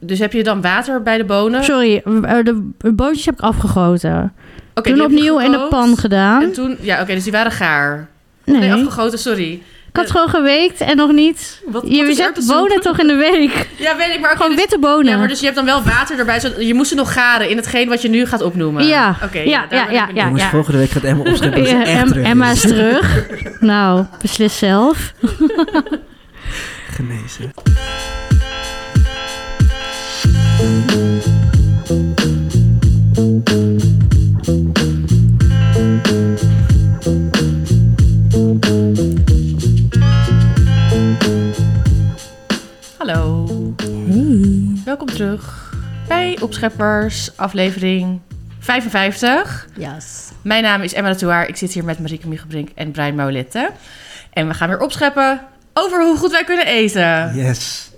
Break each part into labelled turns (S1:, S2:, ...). S1: Dus heb je dan water bij de bonen?
S2: Sorry, eh, de bootjes heb ik afgegoten.
S1: Oké, die
S2: Toen
S1: heb je
S2: opnieuw in de
S1: gekookt.
S2: pan gedaan.
S1: En toen, ja, oké, dus die waren gaar.
S2: nee,
S1: Nee, afgegoten, sorry.
S2: ik had gewoon geweekt en nog niet.
S1: Wat, wat
S2: Je
S1: is
S2: zet
S1: erwtensoep?
S2: bonen toch in de week?
S1: Ja, weet ik, maar oké,
S2: Gewoon
S1: dus-
S2: witte bonen.
S1: Ja, maar dus je hebt dan wel water erbij. Zo, je moest ze nog garen in hetgeen wat je nu gaat opnoemen.
S2: Ja.
S1: Oké,
S2: Ja,
S1: daar
S2: ja,
S1: ben
S2: ja,
S1: ik benieuwd.
S3: Jongens,
S2: ja.
S3: volgende week gaat Emma opschrijven dat ze
S2: Ja,
S3: echt
S2: Em-
S3: terug is.
S2: Emma is terug. nou, beslis zelf.
S3: Genezen.
S1: Hallo. Welkom terug bij Opscheppers, aflevering 55.
S2: Yes.
S1: Mijn naam is Emma Touaar. Ik zit hier met Marieke Miegebrink en Brian Maulette. En we gaan weer opscheppen over hoe goed wij kunnen eten.
S3: Yes.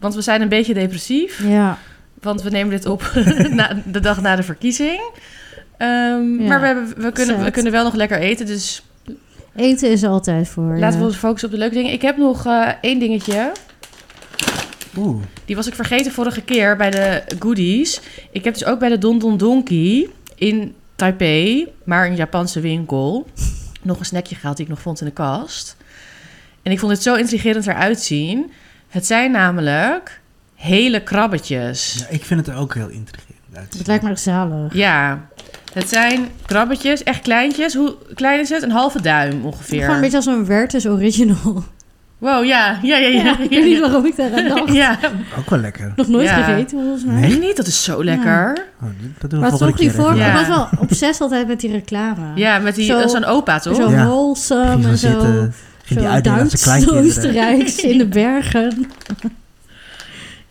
S1: Want we zijn een beetje depressief.
S2: Ja.
S1: Want we nemen dit op na, de dag na de verkiezing. Ehm,
S2: Ja,
S1: maar we, hebben, we, kunnen, we
S2: zet.
S1: kunnen wel nog lekker eten. Dus
S2: Eten is er altijd voor.
S1: laten we ons focussen op de leuke dingen. Ik heb nog eh, één dingetje.
S3: Oeh.
S1: Die was ik vergeten vorige keer bij de goodies. Ik heb dus ook bij de Don Don Donkey in Taipei, maar een Japanse winkel, nog een snackje gehaald die ik nog vond in de kast. En ik vond het zo intrigerend eruit zien. Het zijn namelijk hele krabbetjes.
S3: Ja, ik vind het er ook heel intrigerend uit.
S2: Het lijkt me echt zalig.
S1: Ja, het zijn krabbetjes, echt kleintjes. Hoe klein is het? Een halve duim ongeveer.
S2: Gewoon een beetje als een Werther's original.
S1: Wow, ja, ja, ja, ja.
S2: Ja, ik weet niet waarom ik daar aan dacht.
S1: Ja.
S3: Ook wel lekker.
S2: Nog nooit
S1: Ja.
S2: gegeten, volgens mij.
S3: Nee?
S1: Echt niet? Dat is zo lekker.
S3: Oh, dat doen we
S2: Maar
S3: volgende
S2: toch
S3: keer
S2: die
S3: even.
S2: voor...
S1: Ja.
S2: Ik was wel obsessief altijd met die reclame.
S1: Ja, met die
S2: Zo-
S1: zo'n opa toch?
S2: Zo
S3: Ja. Ging
S2: wholesome
S3: zo
S2: en zo...
S3: zitten, ging
S2: Zo
S3: die uitdelen aan
S2: Duits,
S3: zijn kleinkinderen.
S2: Oostenrijks, in de bergen.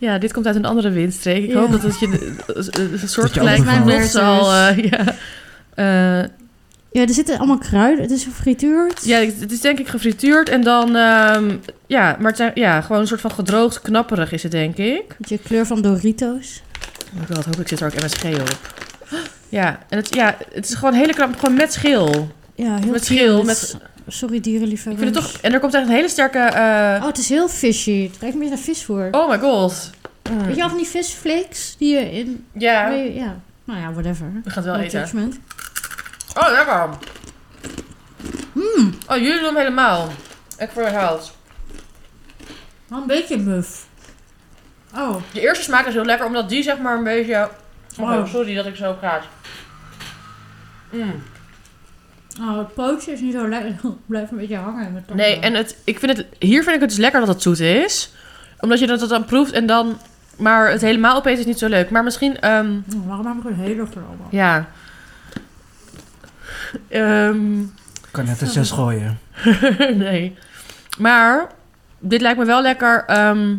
S1: Ja, dit komt uit een andere windstreek. Ik
S2: Ja.
S1: hoop dat het je een- een soort
S3: Dat je
S1: gelijk
S3: overvalt.
S1: nog zal... eh, ja. Eh,
S2: Ja, er zitten allemaal kruiden. Het is gefrituurd.
S1: ja, het is denk ik gefrituurd en dan... ehm, ja, maar het zijn, ja, gewoon een soort van gedroogd knapperig is het, denk ik.
S2: Met je kleur van Doritos.
S1: Oh my god, hoop ik zit er ook MSG op. Ja, en het, ja, het is gewoon hele knap, gewoon met schil.
S2: Ja, heel
S1: Met schil,
S2: cute.
S1: met-
S2: Sorry, dierenliefhebbers.
S1: Ik vind het toch... En er komt echt een hele sterke... eh,
S2: Oh, het is heel fishy. Het lijkt meer naar visvoer.
S1: oh my god. Mm.
S2: Weet je al van die visflakes die je in...
S1: Ja,
S2: waar je- ja. Nou ja, whatever.
S1: we gaan het wel
S2: No
S1: eten.
S2: judgment.
S1: Oh, lekker. Oh, jullie doen hem helemaal. Ik verhaald.
S2: Wel een beetje muf. Oh,
S1: De eerste smaak is heel lekker, omdat die zeg maar een beetje... Oh,
S2: Oh.
S1: sorry dat ik zo praat. Mm.
S2: oh het pootje is niet zo lekker. Blijft een beetje hangen in mijn tanden.
S1: Nee, en het, ik vind het, hier vind ik het dus lekker dat het zoet is. Omdat je dat, dat dan proeft en dan... Maar het helemaal opeten is niet zo leuk. Maar misschien... ehm,
S2: Oh, Waarom heb ik een hele genomen?
S1: ja. Ehm,
S3: Ik kan net een zes gooien.
S1: nee. Maar dit lijkt me wel lekker ehm,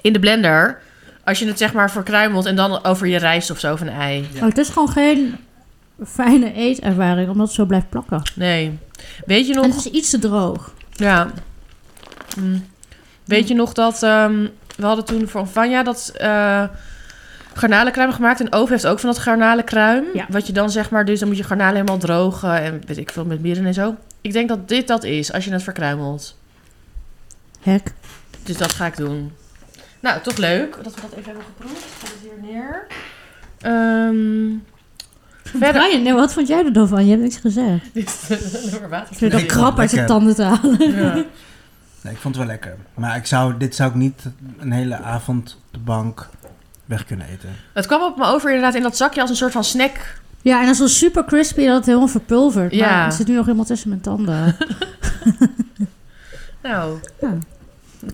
S1: in de blender. Als je het zeg maar verkruimelt en dan over je rijst of zo of een ei.
S2: Oh, het is gewoon geen fijne eetervaring, omdat het zo blijft plakken.
S1: Oh. Nee. Weet je nog...
S2: En het is iets te droog.
S1: Ja. Hm. Weet je nog dat... ehm, we hadden toen van Vanja dat eh garnalenkruim gemaakt. En Ove heeft ook van dat garnalenkruim.
S2: Ja.
S1: Wat je dan zeg maar... Dus dan moet je garnalen helemaal drogen. En weet ik veel, met mieren en zo. Ik denk dat dit dat is, als je het verkruimelt.
S2: Hek.
S1: Dus dat ga ik doen. Nou, toch leuk. Dat we dat even hebben geproefd. Ik zet het hier neer. Ehm, verder...
S2: Brian, nee, wat vond jij er dan van? Je hebt niks gezegd.
S1: Dit is een nummer water.
S2: Ik vind het
S3: Nee,
S2: al krap uit je
S3: lekker.
S2: tanden te halen.
S1: Ja.
S3: Nee, ik vond het wel lekker. Maar ik zou, dit zou ik niet een hele avond op de bank weg kunnen eten.
S1: Het kwam op me over inderdaad in dat zakje als een soort van snack.
S2: Ja, en dat is wel super crispy dat het helemaal verpulvert.
S1: Ja.
S2: Maar het zit nu nog helemaal tussen mijn tanden.
S1: Nou...
S2: Hé,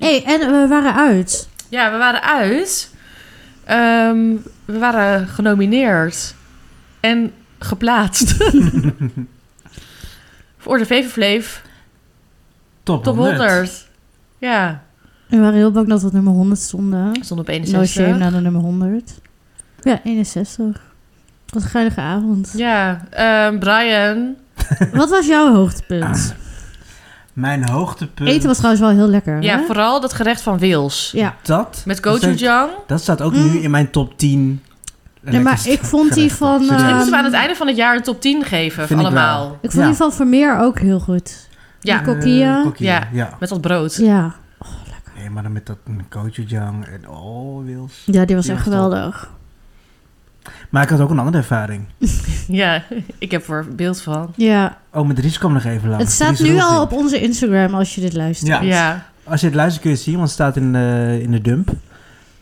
S2: hey, en eh, we waren uit.
S1: Ja, we waren uit. Ehm, we waren genomineerd en geplaatst. Voor de VVVleef
S3: Top,
S1: top 100. Ja,
S2: We waren heel bang dat we op nummer 100 stonden.
S1: we stonden op
S2: No
S1: 61.
S2: shame naar de nummer 100. Ja, 61. Wat een geilige avond.
S1: ja, ehm, Brian.
S2: Wat was jouw hoogtepunt?
S3: Mijn hoogtepunt.
S2: Eten was trouwens wel heel lekker.
S1: Ja,
S2: hè?
S1: vooral dat gerecht van Wils.
S2: ja.
S3: Dat,
S1: Met
S3: dat, staat-
S1: gochujang.
S3: dat staat ook
S2: Mm.
S3: nu in mijn top 10.
S2: Nee, maar ik vond die van...
S3: Gerechten.
S1: Misschien moeten we
S2: ehm,
S1: aan het einde van het jaar een top 10 geven,
S3: Vind ik
S1: allemaal.
S2: Ik vond
S3: Ja.
S2: die van Vermeer ook heel goed.
S1: Ja,
S2: Kokkia.
S3: Eh, kokkia,
S1: Ja.
S3: ja.
S1: met dat brood.
S2: Ja.
S3: Nee, maar dan met dat gochujang en oh, Wils.
S2: Ja, die was
S3: Die
S2: echt
S3: was top.
S2: geweldig.
S3: Maar ik had ook een andere ervaring.
S1: Ja, ik heb er een beeld van.
S2: Ja,
S3: Oh, met Dries kwam nog even langs.
S2: het staat nu
S3: Dries Roelvink.
S2: al op onze Instagram als je dit luistert.
S3: Ja.
S1: Ja,
S3: Als je het luistert kun je het zien, want het staat in de, in de dump.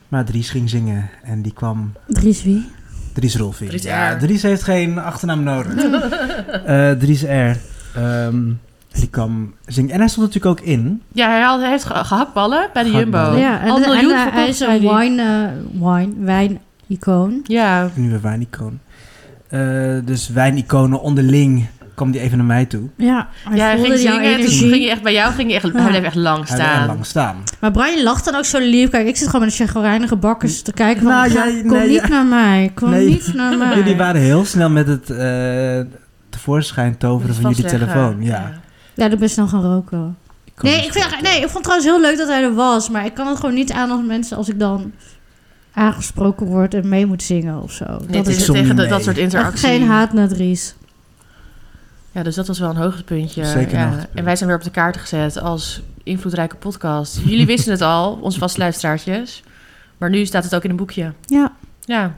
S3: Maar Dries ging zingen en die kwam...
S2: Dries wie?
S3: Dries Rolfing.
S1: Dries
S3: ja,
S1: R.
S3: Dries heeft geen achternaam nodig. Eh, Dries R. Ehm, die kwam zingen. En hij stond natuurlijk ook in.
S1: ja hij, had, hij heeft ge- gehaktballen bij de Jumbo.
S3: Gehaktballen.
S1: Ja.
S2: Ja, en,
S1: Al
S2: en,
S1: miljoen
S2: eh, hij
S1: verkocht,
S2: is
S1: zei
S2: een
S1: die.
S2: wine, eh, wine, wijn-icoon.
S1: Ja.
S3: Nieuwe wijnicoon. Eh, dus wijniconen onderling kwam die even naar mij toe.
S2: Ja, hij
S1: hij
S2: voelde
S1: ging
S2: jouw
S1: zingen en toen
S2: energie.
S1: ging je echt bij jou ging je echt,
S2: Ja.
S1: hij bleef echt lang
S3: Hij bleef
S1: staan.
S3: lang staan.
S2: Maar Brian lacht dan ook zo lief. Kijk, ik zit gewoon met een chagrijnige bakkers te kijken. Van,
S3: Nou,
S2: ga-
S3: jij-
S2: kom
S3: nee,
S2: niet
S3: jij-
S2: naar mij. Kom
S3: Nee.
S2: niet naar
S1: Ah.
S2: mij.
S3: Jullie waren heel snel met het eh, tevoorschijn toveren van jullie
S1: Vastleggen.
S3: telefoon. Ja.
S2: Ja, dan ben je snel gaan roken.
S3: Ik kon dus
S2: Nee
S3: niet
S2: ik, vind, nee, ik vond het trouwens heel leuk dat hij er was. Maar ik kan het gewoon niet aan als mensen als ik dan aangesproken word en mee moet zingen of zo.
S1: Nee,
S2: dat
S1: het
S2: is
S1: is
S3: zong
S1: tegen
S3: niet
S1: dat- dat
S3: mee.
S1: soort
S2: echt
S1: interactie.
S2: geen haat naar Dries.
S1: Ja, dus dat was wel een hoogtepuntje.
S3: Zeker een
S1: ja.
S3: hoogtepunt.
S1: En wij zijn weer op de kaart gezet als invloedrijke podcast. Jullie wisten het al, onze vaste luisteraartjes. Maar nu staat het ook in een boekje.
S2: Ja,
S1: Ja.
S2: dank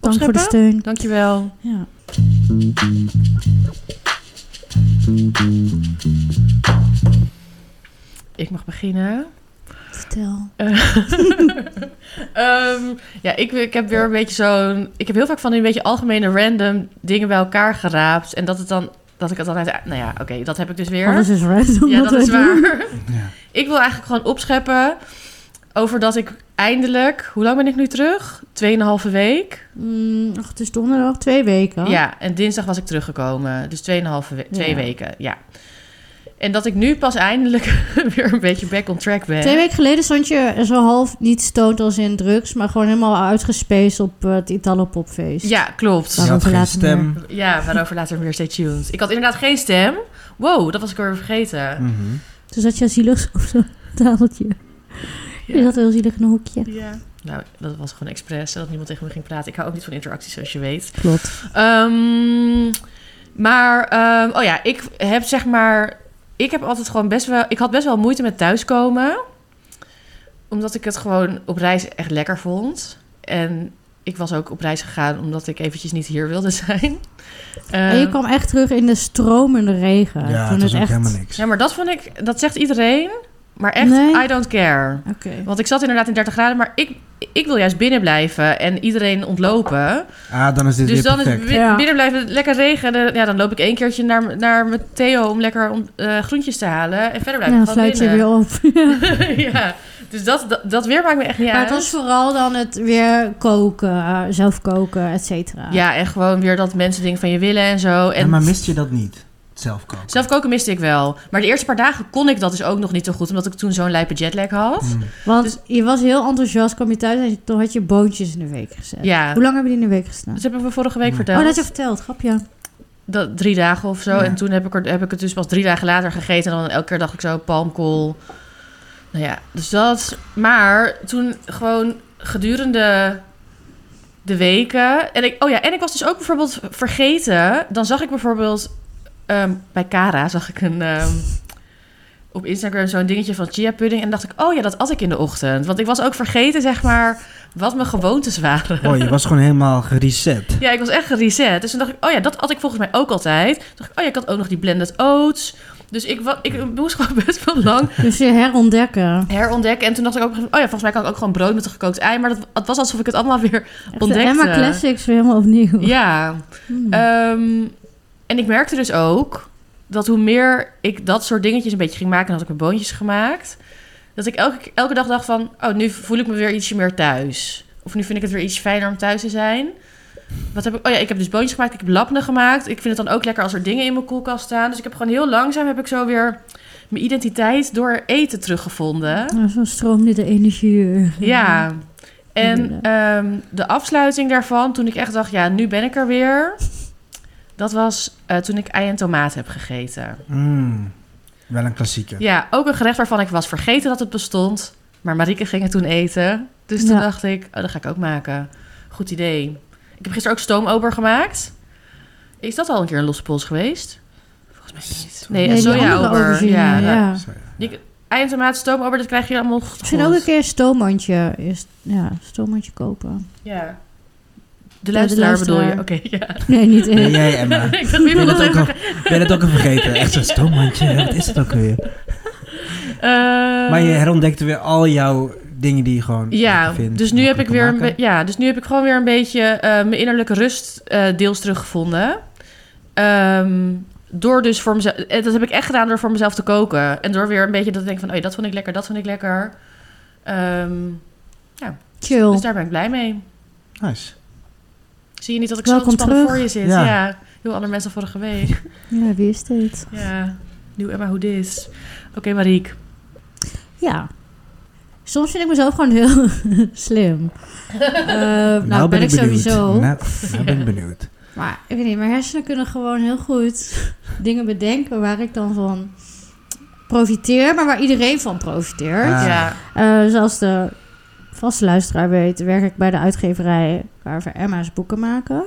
S2: voor de
S1: Opscheppen?
S2: steun.
S1: Dankjewel.
S2: Ja.
S1: Ik mag beginnen.
S2: Vertel.
S1: Ehm, ja, ik, ik heb weer een beetje zo'n... Ik heb heel vaak van die een beetje algemene random dingen bij elkaar geraapt. En dat het dan... Dat ik het dan uit... Nou ja, oké, dat heb ik dus weer.
S2: Alles is random.
S1: ja,
S2: wat
S1: dat is
S2: wij doen.
S1: waar.
S3: Ja.
S1: Ik wil eigenlijk gewoon opscheppen over dat ik eindelijk... Hoe lang ben ik nu terug? Tweeënhalve week.
S2: Mm, ach, het is donderdag. Twee weken.
S1: Ja, en dinsdag was ik teruggekomen. Dus 2,5 we twee
S2: Oh? Ja.
S1: weken, ja. En dat ik nu pas eindelijk weer een beetje back on track ben.
S2: Twee weken geleden stond je zo half niet stoned als in drugs, maar gewoon helemaal uitgespeeld op eh, het Italo Popfeest.
S1: Ja, klopt.
S3: Je
S1: Ja.
S2: Ja.
S3: had
S2: Daarover
S3: geen
S2: later
S3: stem.
S1: waarover later meer stay tuned. Ik had inderdaad geen stem. Wow, dat was ik alweer vergeten.
S2: Mm.
S3: Mhm.
S2: Toen zat Dus je heel zielig op zo'n tafeltje. Je zat heel zielig in een hoekje.
S1: Ja. Nou, dat was gewoon expres, dat niemand tegen me ging praten. Ik hou ook niet van interacties, zoals je weet.
S2: Klopt.
S1: Ehm, maar, ehm, oh ja, ik heb zeg maar... Ik heb altijd gewoon best wel... Ik had best wel moeite met thuiskomen. Omdat ik het gewoon op reis echt lekker vond. En ik was ook op reis gegaan omdat ik eventjes niet hier wilde zijn.
S2: en Ah, je
S1: Ehm,
S2: kwam echt terug in de stromende regen.
S3: Ja,
S2: toen
S3: het was ook
S2: echt...
S3: helemaal niks.
S1: Ja, maar dat vond ik... Dat zegt iedereen. Maar echt,
S2: Nee.
S1: I don't care.
S2: Oké.
S1: Want ik zat inderdaad in 30 graden, maar ik... Ik wil juist binnen blijven en iedereen ontlopen.
S3: Ah, dan is dit
S1: Dus
S3: weer
S1: dan is
S3: perfect.
S1: het
S2: Ja.
S1: binnen blijven lekker regen. En, eh, ja, dan loop ik één keertje naar, naar mijn Theo om lekker om, eh, groentjes te halen. En verder blijf
S2: Nou,
S1: ik
S2: dan
S1: gewoon
S2: sluit je
S1: binnen.
S2: weer op.
S1: ja, dus dat, dat, dat weer maakt me echt niet
S2: Maar
S1: uit.
S2: het was vooral dan het weer koken, eh, zelf koken, et cetera.
S1: Ja, en gewoon weer dat mensen dingen van je willen en zo. En
S3: Ja, maar mist je dat niet? Het Zelf koken.
S1: zelf koken miste ik wel. Maar de eerste paar dagen kon ik dat dus ook nog niet zo goed. Omdat ik toen zo'n lijpe jetlag had.
S3: Mm.
S2: Want
S1: Dus-
S2: je was heel enthousiast, kwam je thuis en toen had je boontjes in de week gezet.
S1: Ja,
S2: Hoe lang hebben die in de week gestaan?
S1: dat hebben we vorige week
S3: Oh,
S1: verteld.
S2: Oh, dat heb je verteld, grapje.
S1: dat, drie dagen of zo.
S3: Ja.
S1: En toen heb ik, er, heb ik het dus pas drie dagen later gegeten. En dan elke keer dacht ik zo, palmkool. Nou ja, dus dat. Maar toen gewoon gedurende de weken... En ik, oh ja, en ik was dus ook bijvoorbeeld vergeten... Dan zag ik bijvoorbeeld ehm, bij Cara zag ik een... ehm, op Instagram zo'n dingetje van chia pudding. En dacht ik, oh ja, dat at ik in de ochtend. Want ik was ook vergeten, zeg maar, wat mijn gewoontes waren.
S3: Oh, je was gewoon helemaal gereset.
S1: Ja, ik was echt gereset. Dus toen dacht ik, oh ja, dat had ik volgens mij ook altijd. Toen dacht ik, oh ja, ik had ook nog die blended oats. Dus ik, wa- ik moest gewoon best wel lang
S2: Dus je herontdekken.
S1: herontdekken. En toen dacht ik ook, oh ja, volgens mij kan ik ook gewoon brood met een gekookt ei. Maar dat, het was alsof ik het allemaal weer
S2: Echt de
S1: ontdekte.
S2: Emma Classics weer helemaal opnieuw.
S1: eh. Ja.
S2: Hmm.
S1: Ehm, en ik merkte dus ook dat hoe meer ik dat soort dingetjes een beetje ging maken... en had ik mijn boontjes gemaakt... dat ik elke, elke dag dacht van... oh, nu voel ik me weer ietsje meer thuis. Of nu vind ik het weer iets fijner om thuis te zijn. Wat heb ik? Oh ja, ik heb dus boontjes gemaakt. Ik heb labnen gemaakt. Ik vind het dan ook lekker als er dingen in mijn koelkast staan. Dus ik heb gewoon heel langzaam heb ik zo weer... mijn identiteit door eten teruggevonden.
S2: Nou, zo stroomde de energie. weer.
S1: Ja. En
S2: Mhm. Inderdaad.
S1: ehm, de afsluiting daarvan, toen ik echt dacht, ja, nu ben ik er weer. Dat was eh, toen ik ei en tomaat heb gegeten.
S3: Mm. Wel een klassieker.
S1: Ja, ook een gerecht waarvan ik was vergeten dat het bestond. Maar Marieke ging het toen eten. Dus toen
S2: Ja.
S1: dacht ik, oh, dat ga ik ook maken. Goed idee. Ik heb gisteren ook stoomober gemaakt. Is dat al een keer een losse pols geweest? Volgens mij niet. Nee,
S2: Nee,
S1: een
S2: die andere
S1: sojaober.
S2: aubergine,
S1: Ja.
S2: ja.
S3: Sorry.
S1: Die- eindtomaat, stoomover, dat krijg je allemaal
S2: Ik vind ook een keer een stoommandje. Eerst, ja, een stoommandje kopen.
S1: Ja. De luisteraar, bedoel
S2: luisteraar.
S1: je? Oké, ja.
S2: Nee, niet
S3: Nee,
S2: in.
S3: jij, Emma.
S1: ik dacht, wie
S3: Ik
S1: wil
S3: ben het
S1: dat
S3: ook
S1: even?
S3: al, ben het ook al vergeten. Echt zo'n stoommandje. Wat is dat ook weer?
S1: Eh,
S3: Maar je herontdekte weer al jouw dingen die je gewoon
S1: Ja,
S3: vindt,
S1: dus nu heb ik
S3: makkelijker
S1: weer een
S3: maken.
S1: be- ja, dus nu heb ik gewoon weer een beetje eh, mijn innerlijke rust eh, deels teruggevonden. Ehm, door dus voor mezelf, eh, dat heb ik echt gedaan door voor mezelf te koken. En door weer een beetje dat ik denk van, oh ja, dat vond ik lekker, dat vond ik lekker. Ehm,
S2: Chill.
S1: dus daar ben ik blij mee.
S3: Nice.
S1: Zie je niet dat ik zo
S2: Welkom
S1: ontspannen
S2: terug.
S1: voor je zit?
S3: Ja.
S1: Ja. heel andere mensen vorige week.
S2: Ja, wie is dit?
S1: Ja, nieuw Emma, hoe dit? Oké, Mariek.
S2: Ja. Soms vind ik mezelf gewoon heel slim. Eh, nou, ben, ik
S3: benieuwd.
S2: sowieso.
S3: Nou, nou ben ik benieuwd.
S2: Maar ik weet niet, mijn hersenen kunnen gewoon heel goed dingen bedenken waar ik dan van profiteer, maar waar iedereen van profiteert.
S3: Ah.
S1: Ja.
S2: Eh, zoals de vaste luisteraar weet, werk ik bij de uitgeverij waar we Emma's boeken maken.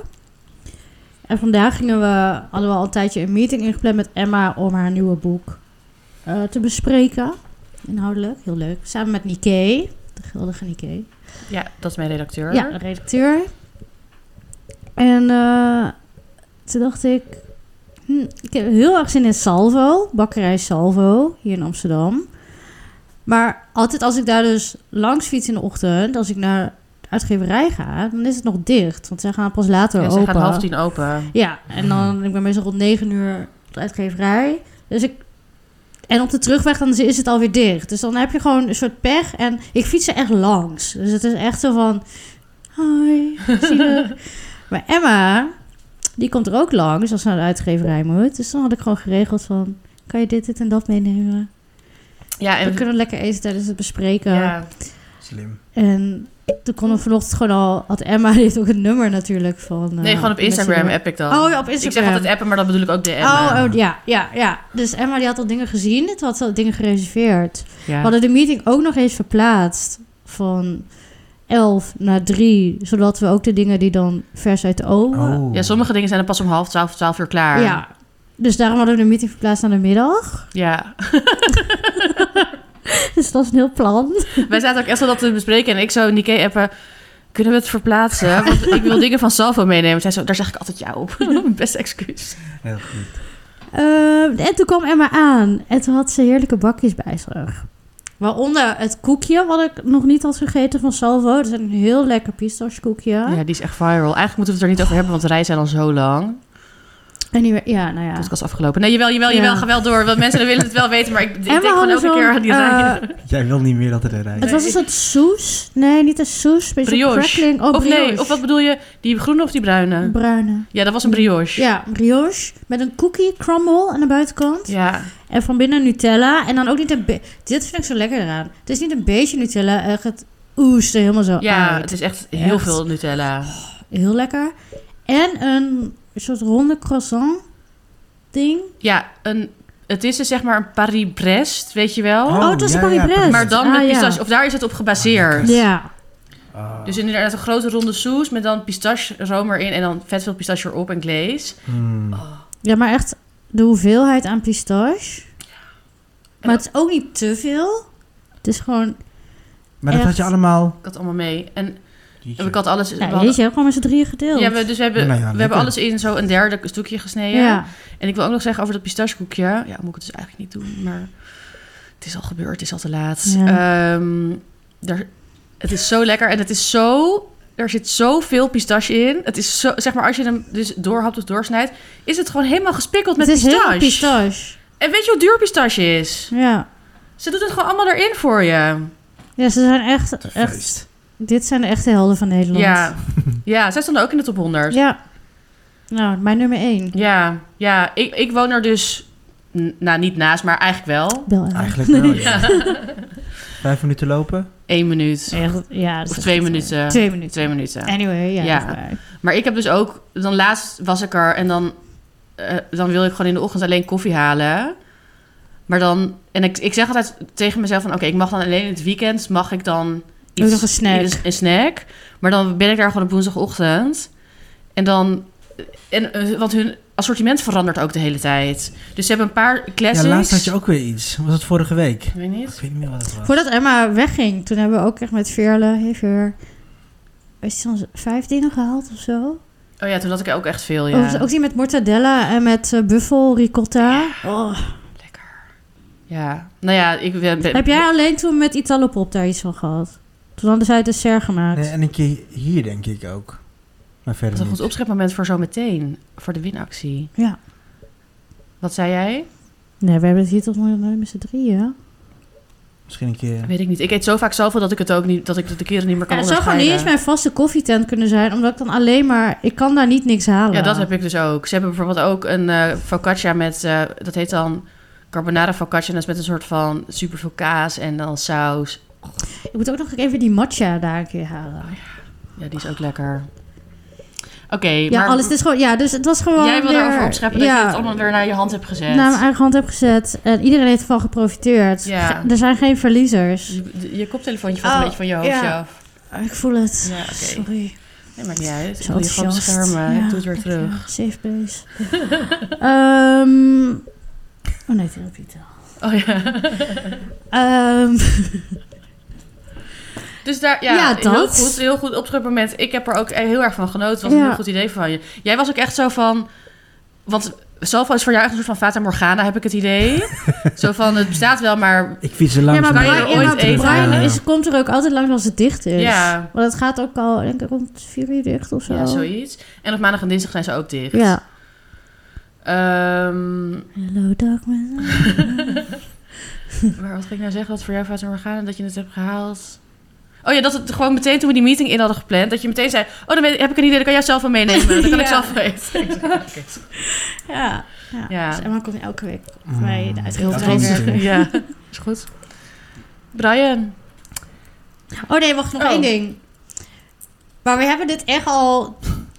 S2: En vandaag gingen we, hadden we al een tijdje een meeting ingepland met Emma om haar nieuwe boek eh, te bespreken. Inhoudelijk, heel leuk. Samen met Nike, de geldige Nike.
S1: ja, dat is mijn redacteur.
S2: Ja, de redacteur. En eh, toen dacht ik, hm, ik heb heel erg zin in Salvo, bakkerij Salvo, hier in Amsterdam. Maar altijd als ik daar dus langs fiets in de ochtend, als ik naar de uitgeverij ga, dan is het nog dicht. Want zij gaan pas later
S1: Ja,
S2: open.
S1: ze gaat half tien open.
S2: Ja, en dan, ik ben meestal rond 9 uur op de uitgeverij. Dus ik, en op de terugweg dan is het alweer dicht. Dus dan heb je gewoon een soort pech. En ik fiets er echt langs. Dus het is echt zo van, hoi, zielig. maar Emma, die komt er ook langs als ze naar de uitgeverij moet. Dus dan had ik gewoon geregeld van, kan je dit, dit en dat meenemen?
S1: Ja,
S2: We
S1: en...
S2: kunnen lekker eten tijdens het bespreken.
S1: Ja,
S3: Slim.
S2: En toen kon ik vanochtend gewoon al, had Emma, die heeft ook het nummer natuurlijk van... eh,
S1: nee, gewoon op
S2: mensen die
S1: Instagram
S2: er-
S1: app ik dan.
S2: Oh ja, op Instagram.
S1: Ik zeg altijd appen, maar dat bedoel ik ook DM'en.
S2: Oh, oh, ja, ja, ja. Dus Emma die had al dingen gezien. Het had al dingen gereserveerd. We
S1: ja.
S2: hadden de meeting ook nog eens verplaatst van 11 naar 3. Zodat we ook de dingen die dan vers uit de oven...
S3: Oh.
S1: ja, sommige dingen zijn dan pas om half twaalf, twaalf uur klaar.
S2: Ja. Dus daarom hadden we de meeting verplaatst naar de middag.
S1: ja.
S2: Dus dat is een heel plan.
S1: Wij zaten ook echt zo dat te bespreken. En ik zo Nike appen, kunnen we het verplaatsen? Want ik wil dingen van Salvo meenemen. Zij zo, daar zeg ik altijd jou op. Mijn beste excuus.
S3: Heel goed.
S2: Ehm, en toen kwam Emma aan. En toen had ze heerlijke bakjes bij zich. Waaronder het koekje, wat ik nog niet had gegeten van Salvo. Dat is een heel lekker pistachekoekje.
S1: Ja, die is echt viral. Eigenlijk moeten we het er niet over hebben, want de rij zijn al zo lang.
S2: En die, ja, nou ja.
S1: Podcast afgelopen. Nee, jawel, jawel,
S2: Ja.
S1: jawel. Ga wel door. Want mensen willen het wel weten, maar ik, ik denk gewoon elke
S2: zo'n,
S1: keer aan die rij.
S2: eh,
S3: Jij wil niet meer dat het eruit
S2: het
S1: Nee.
S2: was een soort soes. Nee, niet een soes. Een beetje
S1: Brioche.
S2: crackling. Oh,
S1: of
S2: brioche.
S1: nee, of wat bedoel je? Die groene of die bruine?
S2: Bruine.
S1: Ja, dat was een brioche.
S2: Ja, brioche. Met een cookie crumble aan de buitenkant.
S1: Ja.
S2: En van binnen Nutella. En dan ook niet een be- Dit vind ik zo lekker eraan. Het is niet een beetje Nutella. Echt het oest er helemaal zo
S1: Ja,
S2: uit.
S1: het is echt heel
S2: oh, Echt.
S1: veel Nutella.
S2: Heel lekker. En een soort ronde croissant ding.
S3: Oh,
S1: Ja, een, het is dus zeg maar een Paris-Brest, weet je wel.
S3: Oh,
S2: Oh, het was
S3: ja,
S2: een Paris
S3: ja,
S2: Brest.
S3: precies.
S1: maar dan
S2: Ah,
S1: met
S2: ja.
S1: pistache. Of daar is het op gebaseerd.
S2: Ja.
S3: Ah.
S1: Dus inderdaad een grote ronde soes met dan pistache room erin en dan vet veel pistache erop en glaze.
S3: Hmm.
S2: ja, maar echt de hoeveelheid aan pistache. Maar het is ook niet te veel. Het is gewoon...
S3: Maar dat
S2: Echt.
S3: had je allemaal...
S1: Ik had allemaal mee. En
S3: Jeetje.
S1: ik had alles... we
S2: Ja,
S1: hadden-
S2: Nou, jeetje, je hebt gewoon met z'n drieën gedeeld.
S1: ja, we, dus we hebben,
S3: Nou ja,
S1: we
S3: lekker.
S1: hebben alles in zo'n derde stukje gesneden.
S2: Ja.
S1: En ik wil ook nog zeggen over dat pistachekoekje. Ja, moet ik het dus eigenlijk niet doen, maar het is al gebeurd, het is al te laat. Ehm, daar, het is zo lekker en het is zo... Er zit zoveel pistache in. Het is zo, zeg maar, als je hem dus doorhapt of doorsnijdt, is het gewoon helemaal gespikkeld met
S2: het is
S1: pistache.
S2: heel pistache.
S1: En weet je hoe duur pistache is?
S2: Ja.
S1: Ze doet het gewoon allemaal erin voor je.
S2: ja, ze zijn echt,
S3: Te
S2: echt...
S3: feest.
S2: Dit zijn de echte helden van Nederland.
S1: Ja. ja, zij stonden ook in de top 100. Ja,
S2: Ja. Nou, mijn nummer één.
S1: ja, Ik, ik woon er dus, n- nou niet naast, maar eigenlijk wel.
S2: Bel Emma.
S3: Eigenlijk wel, ja. Vijf minuten lopen.
S1: Eén minuut.
S2: Echt, ja, dat is
S1: Of
S2: echt-
S1: twee minuten.
S2: Twee minuten.
S1: Twee minuten.
S2: Anyway, ja.
S1: Ja.
S2: dat is waar.
S1: Maar ik heb dus ook, dan laatst was ik er en dan, eh, dan wil ik gewoon in de ochtend alleen koffie halen. Maar dan, en ik, ik zeg altijd tegen mezelf van oké, ik mag dan alleen in het weekend, mag ik dan iets,
S2: nog een snack.
S1: iets- een snack. Maar dan ben ik daar gewoon op woensdagochtend. En dan, en, eh, want hun assortiment verandert ook de hele tijd. Dus ze hebben een paar classics.
S3: Ja, laatst had je ook weer iets. Was het vorige week? Ik
S1: Ik weet niet.
S3: weet niet meer wat het was.
S2: Voordat Emma wegging, toen hebben we ook echt met Veerle, hey Veer, is soms vijf dingen gehaald of zo?
S1: Oh ja, toen had ik ook echt veel, ja.
S2: Oh, dus Ook, ook die met mortadella en met eh, buffel, ricotta. Oh.
S1: Lekker. Ja. Nou ja, ik ben... ben-
S2: Heb jij alleen toen met Italopop daar iets van gehad? Toen hadden zij het dessert gemaakt.
S3: Nee, en een keer hier denk ik ook. Maar
S1: Dat is
S3: verder
S1: een goed
S3: niet.
S1: opschepmoment voor zometeen. Voor de winactie.
S2: Ja.
S1: Wat zei jij?
S2: Nee, we hebben het hier toch nog nooit met z'n drieën.
S3: Misschien een keer...
S1: Weet ik niet. Ik eet zo vaak zoveel dat ik het ook niet... Dat ik het de keren niet meer kan
S2: Ja, het zou gewoon
S1: onderscheiden.
S2: niet eens mijn vaste koffietent kunnen zijn, omdat ik dan alleen maar... Ik kan daar niet niks halen.
S1: Ja, dat heb ik dus ook. Ze hebben bijvoorbeeld ook een eh, focaccia met, eh, dat heet dan carbonara focaccia. En dat is met een soort van superveel kaas en dan saus.
S2: Ik moet ook nog even die matcha daar een keer halen.
S1: Ja, die is ook lekker. Oké,
S2: Ja,
S1: maar
S2: alles. Het is gewoon, ja, dus het was gewoon.
S1: jij wil
S2: weer- Nou,
S1: erover opscheppen dat je het allemaal weer naar je hand hebt gezet.
S2: naar mijn eigen hand heb gezet. En iedereen heeft ervan geprofiteerd.
S1: Ja.
S2: Ge- Er zijn geen verliezers.
S1: je, je koptelefoontje valt
S2: Oh,
S1: een beetje van je hoofdje
S2: ja.
S1: af.
S2: Ah, Ik voel het.
S1: Ja, oké.
S2: Sorry.
S1: Nee, maakt niet uit. Ik
S2: Zo
S1: wil je gewoon
S2: enthousiast.
S1: beschermen.
S2: Ja,
S1: Ik doe het weer
S2: dank je.
S1: terug.
S2: Safe place. Ehm, oh nee, therapie taal.
S1: Oh ja.
S2: Ehm,
S1: Dus daar, ja,
S2: Ja,
S1: heel
S2: dat.
S1: goed, heel goed opscheppen met. Ik heb er ook e- heel erg van genoten. Het was een
S2: Ja.
S1: heel goed idee van je. Jij was ook echt zo van, want zelf is voor jou echt een soort van Fata Morgana, heb ik het idee. zo van, het bestaat wel, maar
S3: Ik fiets er
S2: ja,
S3: langs.
S2: maar
S1: Kan je
S2: Brian,
S1: er
S2: ja,
S1: ooit
S2: maar
S1: eten?
S2: Brian
S1: Ja.
S2: is, komt er ook altijd langs als het dicht is.
S1: Ja.
S2: Want het gaat ook al, denk ik, om vier uur dicht of zo.
S1: ja, zoiets. En op maandag en dinsdag zijn ze ook dicht.
S2: Ja.
S1: Ehm,
S2: Hello, Dagman.
S1: maar wat ging ik nou zeggen? Wat voor jou Fata Morgana, dat je het hebt gehaald? Oh ja, dat het gewoon meteen toen we die meeting in hadden gepland, dat je meteen zei, oh dan weet- heb ik een idee, dan kan jij zelf wel meenemen. Dan kan ik
S2: Ja.
S1: zelf wel eten.
S2: Ja. ja.
S1: Ja.
S2: Dus Emma komt elke week voor mij de
S1: Heel
S3: Hmm. Dat
S2: uitgeverij
S3: kan
S2: werken.
S3: natuurlijk.
S1: Ja, is goed. Brian.
S2: Oh nee, wacht, nog
S1: Oh.
S2: één ding. Maar we hebben dit echt al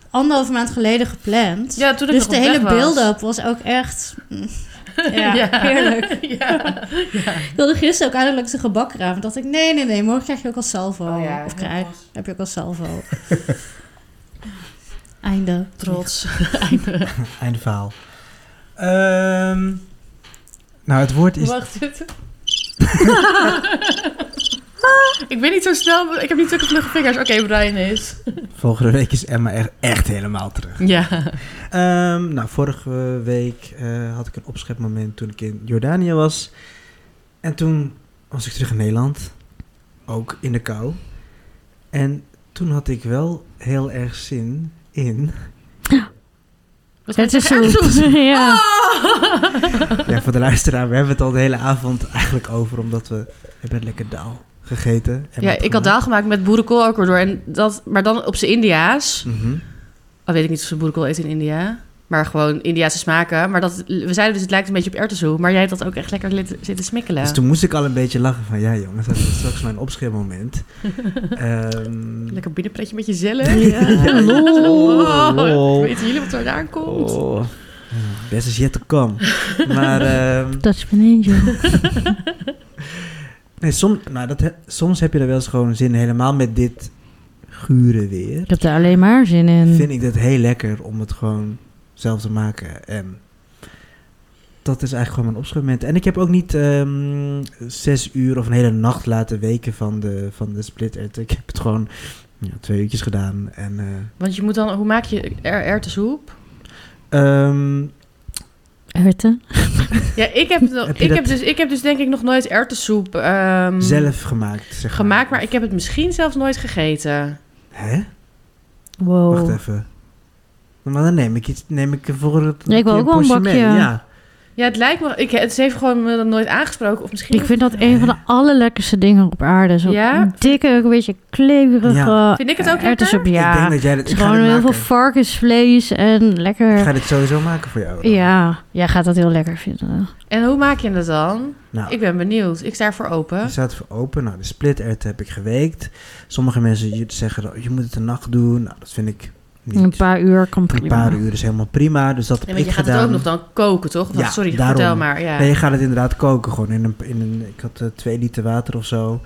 S2: anderhalve maand geleden gepland.
S1: Ja, toen ik
S2: dus
S1: nog
S2: de
S1: op
S2: hele
S1: weg was.
S2: build-up was ook echt... mm, Ja,
S1: Ja.
S2: heerlijk.
S1: Ja.
S2: Ik wilde gisteren ook eigenlijk de gebakkraam. Toen dacht ik, nee, nee, nee, morgen krijg je ook al salvo.
S1: Oh ja, heel
S2: of krijg,
S1: trots.
S2: heb je ook al salvo. Einde.
S1: Trots.
S3: Einde verhaal. Ehm, nou, het woord is...
S1: Wacht ik ben niet zo snel, ik heb niet zulke vlugge vingers. Oké, Brian is.
S3: Volgende week is Emma echt, echt helemaal terug.
S1: Ja.
S3: Ehm, nou, vorige week eh, had ik een opschepmoment toen ik in Jordanië was. En toen was ik terug in Nederland. Ook in de kou. En toen had ik wel heel erg zin in...
S1: Wat
S2: Het is
S1: gaat er
S2: zo. Ja.
S3: Ja, voor de luisteraar, we hebben het al de hele avond eigenlijk over. Omdat we hebben lekker daal gegeten. en
S1: Ja,
S3: wat
S1: ik had daal
S3: gemaakt.
S1: gemaakt met boerenkool ook door. En dat, maar dan op zijn India's.
S3: Mhm.
S1: Al weet ik niet of ze boerenkool eten in India. Maar gewoon Indiaanse smaken. Maar dat, we zeiden dus, het lijkt een beetje op erwtensoep. Maar jij hebt dat ook echt lekker lit- zitten smikkelen.
S3: Dus toen moest ik al een beetje lachen van... Ja jongens, dat is straks mijn opschepmoment. Ehm,
S1: Lekker binnenpretje met Oh, je zellen.
S2: Ja.
S3: Lol. Lol.
S1: Weten jullie wat er vandaan komt?
S3: Oh. Best is yet to come. maar ehm,
S2: Dutch angel.
S3: nee, som, nou, dat, he- soms heb je er wel eens gewoon zin in. Helemaal met dit gure weer.
S2: Ik heb daar alleen maar zin in.
S3: Vind ik dat heel lekker om het gewoon zelf te maken. En dat is eigenlijk gewoon mijn opschepmoment. En ik heb ook niet ehm, zes uur of een hele nacht laten weken van de, van de split edit. Ik heb het gewoon ja, twee uurtjes gedaan. En eh,
S1: Want je moet dan, hoe maak je er erwtensoep?
S3: ehm,
S1: Mm.
S2: Herten.
S1: Ja, ik heb, nog-
S3: Heb je
S1: ik,
S3: dat-
S1: heb dus, ik heb dus denk ik nog nooit erwtensoep ehm,
S3: zelf gemaakt. Zeg
S1: gemaakt, maar ik heb het misschien zelfs nooit gegeten.
S3: Hè?
S2: Wow.
S3: Wacht even. Maar dan neem ik iets, neem ik voor het.
S2: Ja, ik wil ook wel een bakje.
S3: Ja.
S1: Ja, het lijkt me, ik, het heeft gewoon me dat nooit aangesproken. Of misschien
S2: Ik vind dat een van de allerlekkerste dingen op aarde. Zo'n
S1: Ja?
S2: dikke, een beetje kleverige...
S3: Ja.
S1: Vind ik het ook lekker?
S2: erwtensoep, ja.
S3: Ik denk dat jij dit.
S2: Het
S3: Ik
S2: is
S3: ga
S2: gewoon
S3: dit
S2: heel veel
S3: maken.
S2: varkensvlees en lekker...
S3: Ik ga dit sowieso maken voor jou. dan.
S2: Ja, jij gaat dat heel lekker vinden.
S1: En hoe maak je het dan?
S3: Nou,
S1: Ik ben benieuwd. Ik sta ervoor
S3: je
S1: open.
S3: staat voor open. Nou, de split ert heb ik geweekt. Sommige mensen die zeggen dat je moet het de nacht doen. Nou, dat vind ik niet.
S2: Een paar uur kan
S3: Een
S2: prima.
S3: paar uur is helemaal prima. Dus dat heb
S1: Nee,
S3: ik
S1: want je gaat
S3: gedaan.
S1: het ook nog dan koken, toch? Want,
S3: Ja,
S1: sorry,
S3: daarom.
S1: vertel maar. Ja.
S3: Nee, je gaat het inderdaad koken. Gewoon in een, in een ik had eh, twee liter water of zo.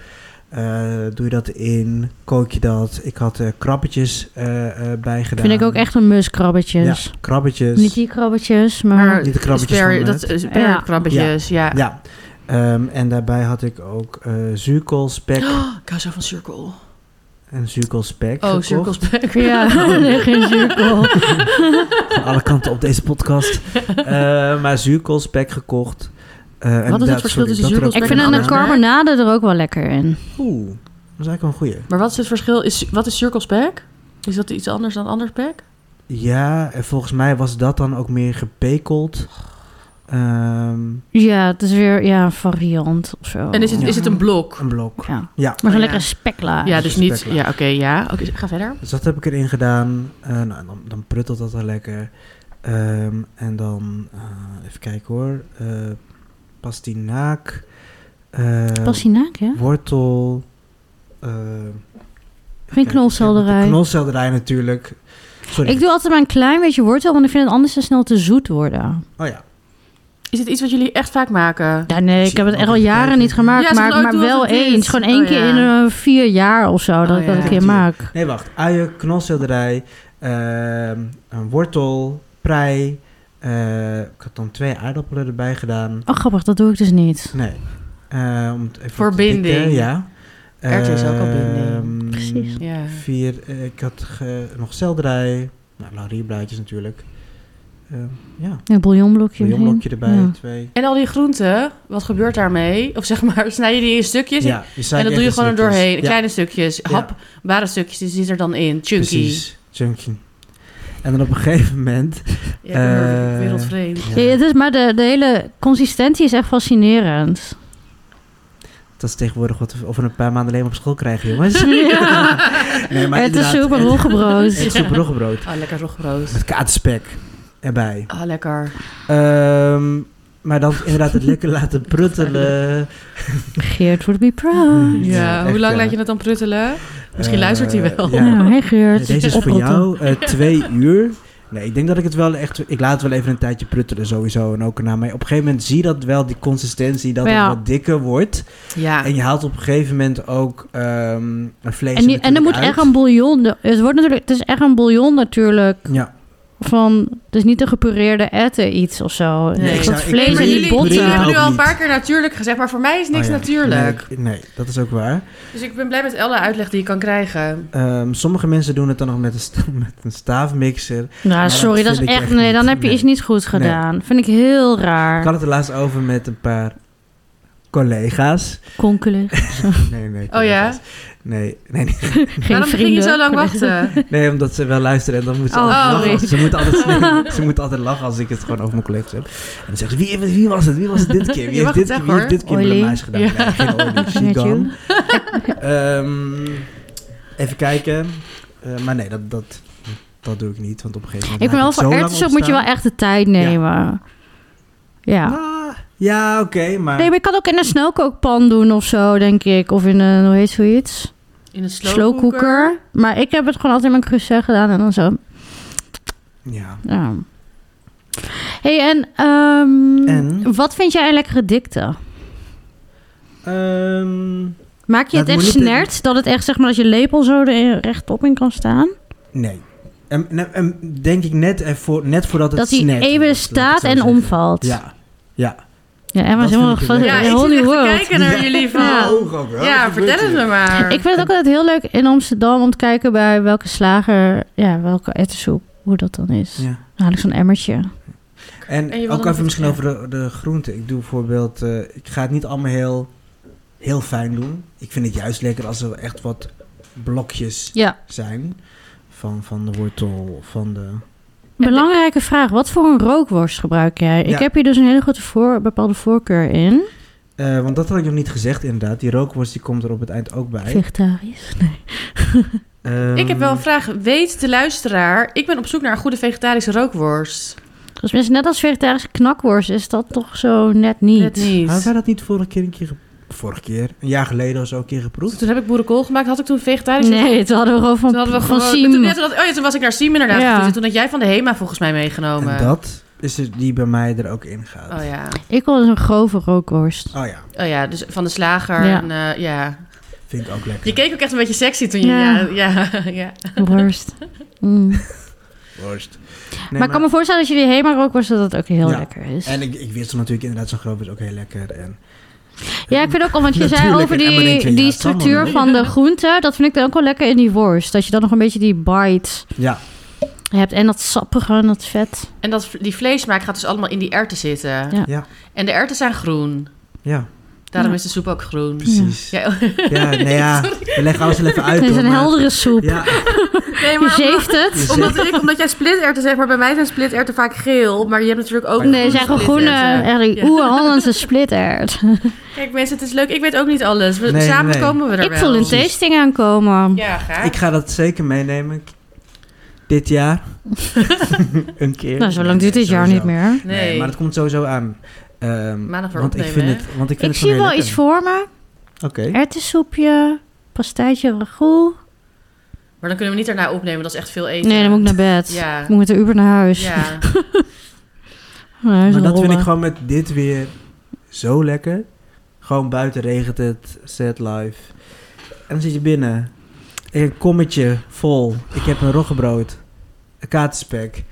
S3: Eh, doe je dat in? Kook je dat? Ik had eh, krabbetjes eh, eh, bij gedaan.
S2: Vind ik ook echt een mus krabbetjes.
S3: Ja, dus- krabbetjes.
S2: Niet die krabbetjes, maar...
S1: Maar
S3: Niet de krabbetjes
S1: Spare-
S3: van
S1: dat,
S3: net.
S1: eh, spare
S2: Ja.
S1: krabbetjes, ja.
S3: Ja. Ehm, en daarbij had ik ook eh zuurkoolspek.
S1: Oh, Ik hou zo van cirkel.
S3: En zuurkoolspek.
S1: Oh,
S3: gekocht.
S1: cirkelspek.
S2: Ja, nee, geen cirkel.
S3: Van alle kanten op deze podcast. Eh, maar zuurkoolspek gekocht. Eh,
S1: het
S3: en dat-
S1: verschil
S3: sorry,
S1: tussen
S3: dat er
S2: Ik
S3: ook
S1: zuurkoolspek
S2: vind
S1: en
S2: een
S1: anders.
S2: carbonade er ook wel lekker in.
S3: Oeh, dat is eigenlijk wel een goeie.
S1: Maar wat is het verschil? Is, wat is cirkelspek? Is dat iets anders dan ander spek?
S3: Ja, en volgens mij was dat dan ook meer gepekeld. Ehm,
S2: Ja, het is weer ja, een variant of zo.
S1: En is het, is het
S3: Oh.
S1: een blok?
S3: een blok.
S2: Ja.
S3: Ja,
S2: Maar zo'n
S1: Ja.
S2: lekkere spekla.
S1: Ja,
S3: dat
S1: dus
S3: is
S1: niet...
S3: spekla.
S1: Ja, oké, ja. Oké, ga verder.
S3: dus dat heb ik erin gedaan. Eh, nou, dan, dan pruttelt dat al lekker. Ehm, en dan, eh, even kijken hoor. Eh pastinaak. eh,
S2: Pastinaak, ja?
S3: Wortel. eh,
S2: Geen knolselderij.
S3: Knolselderij natuurlijk. Sorry.
S2: Ik doe altijd maar een klein beetje wortel, want ik vind het anders te snel te zoet worden.
S3: Oh ja.
S1: Is het iets wat jullie echt vaak maken?
S2: Ja, nee, ik heb het echt al
S3: Ja,
S2: jaren niet gemaakt,
S1: ze
S2: maar,
S1: gaan ook
S2: maar
S1: doen
S2: wel
S1: wat het is.
S2: eens. Gewoon één
S1: Oh,
S2: keer
S1: ja.
S2: in eh, vier jaar of zo dat
S1: Oh,
S2: ik dat
S1: ja.
S2: een keer maak.
S3: Nee, wacht. Uien, knolselderij, ehm, een wortel, prei. eh, ik had dan twee aardappelen erbij gedaan.
S2: Oh, grappig, dat doe ik dus niet.
S3: Nee. Eh, om het even
S1: Voor
S3: op te pikken,
S1: binding.
S3: ja.
S1: Erwten is ook al binding.
S3: Ehm,
S2: Precies.
S1: Ja.
S3: Vier, eh, ik had ge- nog selderij. Nou, laurierblaadjes natuurlijk. Eh, ja.
S2: Een bouillonblokje
S3: Een
S2: omheen.
S3: blokje erbij,
S2: Ja.
S3: twee.
S1: En al die groenten, wat gebeurt daarmee? Of zeg maar, snij je die in stukjes?
S3: Ja, je zei
S1: en dat
S3: echt
S1: doe je
S3: in
S1: gewoon er
S3: stukjes.
S1: doorheen.
S3: Ja,
S1: Kleine stukjes, hapbare stukjes, die zit er dan in. Chunky.
S3: Precies, chunky. En dan op een gegeven moment...
S1: Ja, ik ben weer-
S3: Eh,
S1: wereldvreemd.
S3: Ja,
S2: Ja, het is, maar de, de hele consistentie is echt fascinerend.
S3: Dat is tegenwoordig wat we over een paar maanden alleen op school krijgen, jongens. nee, maar
S2: het is
S3: inderdaad,
S2: super
S3: het-
S2: roggebrood.
S3: Het is super roggebrood.
S1: Ah, lekker roggebrood.
S3: Met katerspek erbij.
S1: Ah, lekker.
S3: Ehm, maar dan inderdaad het lekker laten pruttelen.
S2: Geert would be proud.
S1: Ja,
S3: echt,
S1: hoe lang
S3: eh,
S1: laat je het dan pruttelen? Misschien
S3: Eh,
S1: luistert hij wel.
S2: Ja,
S3: ja.
S2: hey Geert.
S3: Deze is voor
S2: Oprotten.
S3: jou eh, twee uur. Nee, ik denk dat ik het wel echt... Ik laat het wel even een tijdje pruttelen sowieso en ook erna. Maar op een gegeven moment zie je dat wel, die consistentie, dat
S2: Ja.
S3: het wat dikker wordt.
S1: Ja.
S3: En je haalt op een gegeven moment ook ehm een vlees
S2: En, die- en er moet echt een bouillon... Het, wordt natuurlijk, het is echt een bouillon natuurlijk.
S3: Ja.
S2: Van, het is niet een gepureerde etten iets of zo.
S1: Nee, ik
S2: dat
S1: zou-
S3: nou, ik
S2: vlees en
S3: pureer-
S2: die
S1: jullie, jullie
S3: pureer
S2: botten. Nou,
S1: hebben nu
S3: ook
S1: al een
S3: niet.
S1: paar keer natuurlijk gezegd, maar voor mij is niks
S3: Oh ja.
S1: natuurlijk.
S3: Nee, nee, dat is ook waar.
S1: Dus ik ben blij met alle uitleg die je kan krijgen.
S3: Ehm, sommige mensen doen het dan nog met een, sta- met een staafmixer.
S2: Nou,
S3: dat
S2: sorry, dat is
S3: vind ik
S2: echt...
S3: echt
S2: Nee, dan
S3: niet.
S2: heb je
S3: Nee.
S2: iets niet goed gedaan. Vind ik heel
S3: Ik
S2: raar.
S3: had het er laatst over met een paar collega's.
S2: Konkelen.
S3: Nee, nee.
S1: Oh ja?
S3: collega's. Nee, nee, nee,
S2: Geen
S1: Waarom
S2: vrienden.
S1: ging je zo lang wachten?
S3: nee, omdat ze wel luisteren en dan moeten ze
S2: Oh,
S3: altijd lachen.
S1: sorry.
S3: Ze moeten altijd, ze moeten altijd lachen als ik het gewoon over mijn collega's heb. En dan zeggen ze, wie, wie was het? Wie was het dit keer?
S1: Je
S3: Wie
S1: mag
S3: heeft dit,
S1: het zeggen,
S3: wie heeft dit keer
S2: hoor.
S3: met
S2: Oily.
S3: meisje gedaan?
S1: Ja.
S3: Nee, geen olie, she
S2: Met
S3: gone.
S2: you.
S3: Ehm, even kijken. Eh, maar nee, dat, dat, dat doe ik niet, want op een gegeven moment...
S2: Ik ben wel
S3: laat
S2: voor
S3: het zo lang
S2: erwtensoep moet je wel
S3: opstaan.
S2: echt de tijd nemen. Ja.
S3: Ah, ja, oké, maar...
S2: Nee, maar je kan ook in een snelkookpan doen of zo, denk ik. Of in een, hoe heet zoiets?
S1: In een slow, cooker.
S2: Slowcooker. Maar ik heb het gewoon altijd in mijn crusade gedaan en dan zo.
S3: Ja.
S2: Ja. hey, en, ehm,
S3: En?
S2: wat vind jij een lekkere dikte?
S3: Ehm,
S2: Maak je
S3: Nou,
S2: het
S3: het
S2: echt
S3: moet niet-
S2: snert? Dat het echt, zeg maar, dat je lepel zo er rechtop in kan staan?
S3: nee. En, en, en denk ik net, ervoor, net voordat het
S2: Dat hij
S3: snert wordt, laat ik
S2: even
S3: het
S2: staat
S3: zo
S2: en
S3: zeggen.
S2: omvalt.
S3: Ja. Ja.
S2: ja Emma is
S3: Dat
S2: helemaal
S3: vind ik
S2: van
S3: het
S1: Ja, ik zit
S2: Holy
S1: echt te
S2: World.
S1: kijken naar jullie van...
S2: Ja.
S1: Ja,
S3: ook wel. Wat gebeurt
S1: vertel het
S3: hier?
S1: me maar.
S2: Ik vind het ook altijd heel leuk in Amsterdam om te kijken bij welke slager, ja, welke ettensoep, hoe dat dan is.
S3: Ja.
S2: Dan haal ik zo'n emmertje.
S3: En,
S1: En je wilde
S3: ook
S1: nog
S3: even
S1: iets
S3: misschien over
S1: zeggen.
S3: de, de groenten. Ik doe bijvoorbeeld, eh, ik ga het niet allemaal heel, heel fijn doen. Ik vind het juist lekker als er echt wat blokjes
S2: Ja.
S3: zijn. Van, van de wortel, van de...
S2: Belangrijke vraag, wat voor een rookworst gebruik jij?
S3: Ja.
S2: Ik heb hier dus een hele grote voor, bepaalde voorkeur in.
S3: Eh, want dat had ik nog niet gezegd inderdaad. Die rookworst die komt er op het eind ook bij.
S2: Vegetarisch? Nee.
S3: Ehm,
S1: Ik heb wel een vraag. Weet de luisteraar, ik ben op zoek naar een goede vegetarische rookworst.
S2: Dus mensen, net als vegetarische knakworst is dat toch zo net niet.
S1: Net niet.
S3: Hadden wij dat niet vorige keer een keer... ge- Vorige keer? Een jaar geleden of zo een keer geproefd?
S1: Toen heb ik boerenkool gemaakt. Had ik toen vegetarische
S2: Nee, toen hadden we gewoon van,
S1: Toen hadden we
S2: van
S1: gewoon...
S2: Siem.
S1: Toen, ja, toen had- oh ja, toen was ik naar Siem inderdaad
S2: Ja.
S1: gefietst. En Toen had jij van de HEMA volgens mij meegenomen.
S3: En dat is het die bij mij er ook in gaat.
S1: Oh ja.
S2: Ik wil dus een grove rookworst.
S3: Oh ja.
S1: Oh ja, dus van de slager.
S2: Ja.
S1: En, eh, ja.
S3: Vind Vind ik ook lekker.
S1: Je keek ook echt een beetje sexy toen je... Ja,
S2: Ja.
S1: ja, ja.
S2: Worst. Mm.
S3: Worst. Nee,
S2: maar ik kan me voorstellen als jullie helemaal rookworsten dat het ook heel
S3: Ja.
S2: lekker is.
S3: En ik, ik wist natuurlijk inderdaad, zo'n groot is ook heel lekker. En... Eh,
S2: Ja, ik vind ook al, want je zei
S3: Natuurlijk,
S2: over
S3: en dan denk je,
S2: die,
S3: ja,
S2: die
S3: het zal wel
S2: structuur
S3: niet.
S2: van de groente. Dat vind ik dan ook wel lekker in die worst. Dat je dan nog een beetje die bites
S3: Ja,
S2: hebt. En dat sappige en dat vet.
S1: En dat, die vleesmaak gaat dus allemaal in die erwten zitten.
S2: Ja.
S3: Ja.
S1: En de erwten zijn groen.
S3: ja,
S1: Daarom
S2: Ja.
S1: is de soep ook groen.
S3: precies. Ja,
S1: Ja,
S3: nee, ja. we leggen alles wel even uit.
S2: Het is
S3: hoor,
S2: een
S3: maar-
S2: heldere soep.
S3: Ja,
S1: nee,
S2: Je
S1: maar
S2: zeeft het.
S3: je
S1: omdat,
S3: zegt-
S1: ik, omdat jij splitterten zegt, maar bij mij zijn splitterten vaak geel. Maar je hebt natuurlijk
S3: Oh
S1: ook...
S2: Nee, zijn gewoon groene, eh,
S1: splitterwten.
S2: eigenlijk
S1: Ja.
S2: oer Hollandse splitterd.
S1: Kijk mensen, het is leuk. Ik weet ook niet alles. We,
S3: Nee,
S1: samen
S3: nee.
S1: komen we er
S2: Ik
S1: wel.
S2: voel een tasting aankomen.
S1: Ja, graag.
S3: ik ga dat zeker meenemen. Dit jaar. een keer.
S2: Nou, zo lang duurt
S3: Nee,
S2: dit jaar niet
S3: sowieso.
S2: meer.
S1: Nee.
S3: Nee, maar het komt sowieso aan. Ehm,
S1: Maandag weer
S3: want ik
S1: opnemen,
S3: vind
S1: hè?
S3: het, want ik
S2: Ik
S3: vind het
S2: zie
S3: gewoon
S2: wel
S3: heel
S2: iets voor me.
S3: lekker. Oké.
S2: Erwtensoepje, pastijtje, ragout.
S1: Maar dan kunnen we niet daarna opnemen. Dat is echt veel eten.
S2: Nee, dan moet ik naar bed.
S1: Ja.
S2: Ik moet met de Uber naar huis.
S1: Ja.
S2: Naar huis
S3: Maar dat vind
S2: rollen.
S3: ik gewoon met dit weer zo lekker. Gewoon buiten regent het, sad life. En dan zit je binnen. In een kommetje vol. Ik heb een roggebrood. Een katerspek.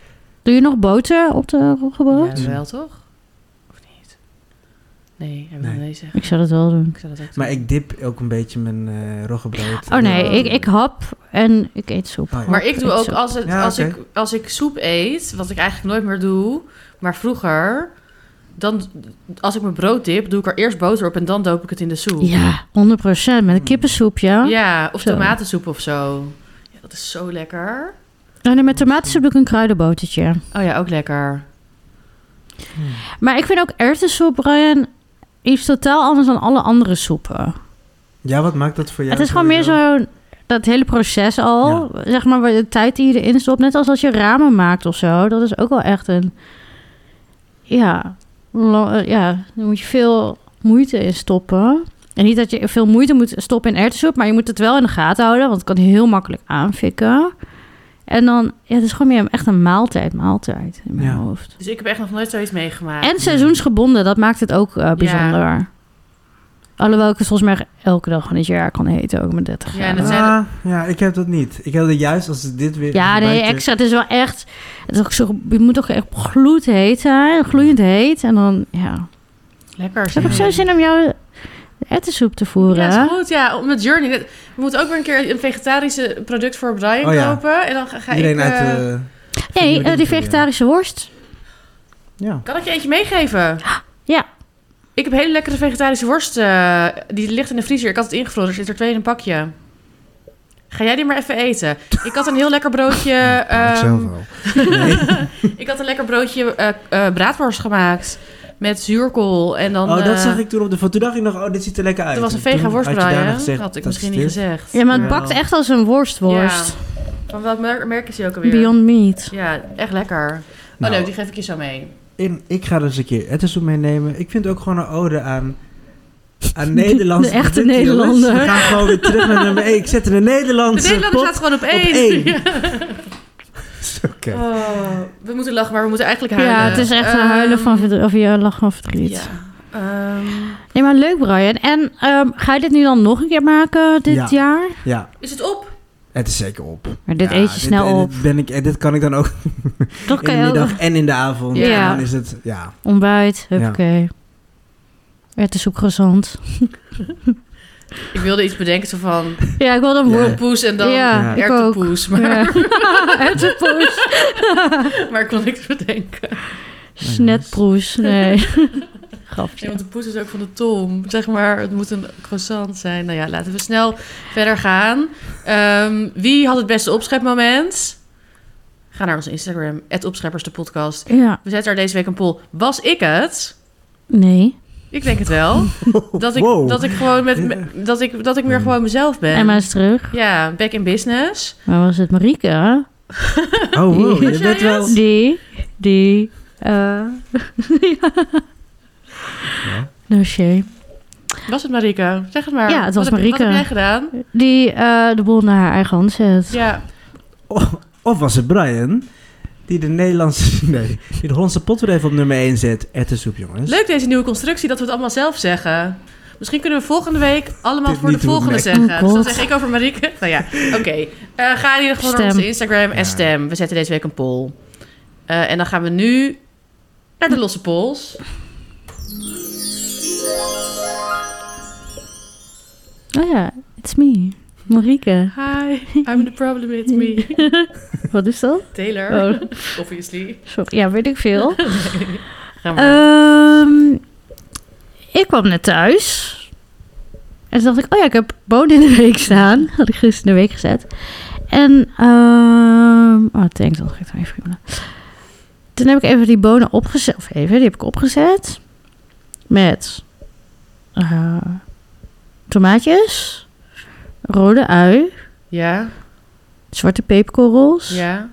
S2: Doe je nog boter op de roggebrood?
S1: Ja, wel toch? Of niet? Nee, hebben we
S3: Nee.
S1: nee zeggen.
S2: Ik zou dat wel doen.
S1: Ik zou dat ook doen.
S3: Maar ik dip ook een beetje mijn eh roggebrood.
S2: Oh nee,
S1: Ja.
S2: ik, ik hap en ik eet soep.
S3: Oh, ja.
S1: Maar ik doe ook
S2: soep.
S1: als, het,
S3: Ja,
S1: als,
S3: oké.
S1: ik, als ik soep eet, wat ik eigenlijk nooit meer doe, maar vroeger, dan als ik mijn brood dip, doe ik er eerst boter op en dan doop ik het in de soep.
S2: Ja, 100%
S3: Hmm.
S2: met een kippensoep, ja.
S1: Ja, of
S2: Zo.
S1: tomatensoep of zo. Ja, dat is zo lekker.
S2: En dan met tomatensoep doe ik een kruidenbotertje.
S1: Oh ja, ook lekker.
S2: Maar ik vind ook erwtensoep, Brian, iets totaal anders dan alle andere soepen.
S3: Ja, wat maakt dat voor jou?
S2: het is gewoon meer
S3: sowieso?
S2: zo dat hele proces al. Zeg maar de tijd die je erin stopt. Net als als je ramen maakt of zo. Dat is ook wel echt een... Ja, lo- eh, ja daar moet je veel moeite in stoppen. En niet dat je veel moeite moet stoppen in erwtensoep. Maar je moet het wel in de gaten houden. Want het kan heel makkelijk aanfikken. En dan... Ja, het is gewoon meer echt een maaltijd. Maaltijd in mijn
S3: Ja.
S2: hoofd.
S1: Dus ik heb echt nog nooit zoiets meegemaakt.
S2: En seizoensgebonden. Dat maakt het ook eh, bijzonder. Alhoewel ik het volgens mij elke dag van het jaar kan eten. Ook met 30
S1: Ja, en
S2: graden.
S1: het zijn-
S3: Ah, ja, ik heb dat niet. Ik heb het juist als het dit weer...
S2: Ja,
S3: een
S2: nee,
S3: beetje-
S2: extra. Het is wel echt. Het is ook zo, je moet toch echt gloed heet zijn. Gloeiend heet. En dan, ja.
S1: Lekker.
S2: Ik heb ook
S1: zeg.
S2: zo zin om jou de erwtensoep te voeren.
S1: Ja,
S2: hè?
S1: is goed. Ja, op mijn journey. Dit- We moeten ook weer een keer een vegetarische product voor Brian
S3: Oh ja.
S1: kopen. En dan ga, ga
S3: Iedereen
S1: ik...
S3: uit
S1: eh,
S3: de...
S2: nee,
S3: jullie
S2: eh, die
S3: doen, ja.
S2: vegetarische worst.
S3: Ja.
S1: Kan ik je eentje meegeven?
S2: Ja.
S1: Ik heb hele lekkere vegetarische worst. eh, die ligt in de vriezer. Ik had het ingevroren. Er zit er twee in een pakje. Ga jij die maar even eten? Ik had een heel lekker broodje...
S3: Ja, ik zelf
S1: ehm,
S3: wel.
S1: ik had een lekker broodje eh, eh, braadworst gemaakt. Met zuurkool. En dan...
S3: oh, dat
S1: eh,
S3: zag ik toen op de foto. Toen dacht ik nog, oh, dit ziet er lekker uit.
S1: Het was een
S3: En toen
S1: vega worst,
S3: had je
S1: Brian.
S3: daarna
S1: Dat
S3: gezegd,
S1: had ik
S3: dat
S1: misschien
S3: is
S1: niet
S3: dit.
S1: gezegd.
S2: Ja, maar het
S3: Ja.
S2: bakt echt als een worstworst.
S1: Van welk merk, merk is die ook alweer?
S2: Beyond Meat.
S1: Ja, echt lekker.
S3: Nou,
S1: Oh leuk, die geef ik je zo mee.
S3: in, ik ga dus een keer ettensoep meenemen. Ik vind ook gewoon een ode aan, aan Nederlandse...
S2: De echte
S3: producten, jongens.
S2: Nederlander.
S3: We gaan gewoon weer terug naar nummer 1. Ik zet er een
S1: De
S3: Nederlandse
S1: Nederlander
S3: pot.
S1: staat gewoon op één.
S3: één.
S1: Ja.
S3: Oké.
S1: Oh, we moeten lachen, maar we moeten eigenlijk
S2: Ja,
S1: huilen.
S2: het is echt een
S1: Ehm,
S2: huilen van verdriet. Of je lachen van verdriet.
S1: Ja. Ehm,
S2: Nee, maar leuk, Brian. En ehm, ga je dit nu dan nog een keer maken dit
S3: Ja.
S2: jaar?
S3: Ja,
S1: is het op?
S3: het is zeker op.
S2: Maar dit
S3: Ja,
S2: eet je snel
S3: dit,
S2: op.
S3: Dit, ben ik, eh, dit kan ik dan ook
S2: Toch
S3: in
S2: kan
S3: de
S2: je ook
S3: middag en in de avond.
S2: Ja.
S3: En dan is het, ja.
S2: ontbijt.
S3: Ja.
S2: Huppakee. Het is ook gezond.
S1: Ik wilde iets bedenken zo van
S2: Ja, ik wil dan
S3: Ja.
S2: woord.
S1: poes en dan
S2: Ja,
S1: ja,
S2: ik ook.
S1: maar,
S2: Ja. Hertenpoes.
S1: maar ik kon niks bedenken.
S2: Snetproes, nee.
S1: Nee,
S2: Grapje.
S1: want de poes is ook van de Tom. Zeg maar, het moet een croissant zijn. Nou ja, laten we snel verder gaan. Ehm, wie had het beste opschepmoment? Ga naar onze Instagram, opscheppers de podcast.
S2: Ja,
S1: We zetten er deze week een poll. Was ik het?
S2: nee.
S1: Ik denk het wel. Dat ik,
S3: Wow.
S1: dat ik gewoon met, me- dat ik, dat ik meer gewoon mezelf ben.
S2: Emma is terug.
S1: Ja, back in business.
S2: Waar was het? Marieke?
S3: Oh, wow.
S2: Was
S3: Je bent wel...
S2: Die, die, eh No shame.
S1: Was het Marika? Zeg het maar.
S2: Ja, het was
S1: wat heb-
S2: Marieke.
S1: wat heb jij gedaan?
S2: Die eh, de boel naar haar eigen hand zet.
S1: Ja,
S3: Of, Oh, of was het Brian die de Nederlandse... Nee, die de Hollandse pot weer even op nummer 1 zet. Ettensoep, jongens.
S1: leuk deze nieuwe constructie dat we het allemaal zelf zeggen. Misschien kunnen we volgende week allemaal
S3: Dit
S1: voor de
S3: niet doen,
S1: volgende
S3: nee.
S1: zeggen.
S2: Oh,
S1: dus dan
S2: God.
S1: zeg ik over Marieke. Nou ja, oké. Eh, ga in ieder geval naar
S2: Stem.
S1: onze Instagram en
S3: Ja.
S1: stem. We zetten deze week een poll. Eh, en dan gaan we nu naar de losse polls.
S2: Oh ja, it's me. Marieke.
S1: Hi, I'm the problem, it's me.
S2: Wat is dat?
S1: Taylor,
S2: Oh,
S1: obviously. Eh.
S2: sorry. Ja, weet ik veel.
S1: Gaan we.
S2: Ehm, ik kwam net thuis. En toen dacht ik, oh ja, ik heb bonen in de week staan. Had ik gisteren in de week gezet. En, ehm oh, thanks, dat ga ik dan even googlen. Toen heb ik even die bonen opgezet. Of even, die heb ik opgezet. Met eh, tomaatjes, rode ui,
S1: ja,
S2: zwarte peperkorrels
S1: ja.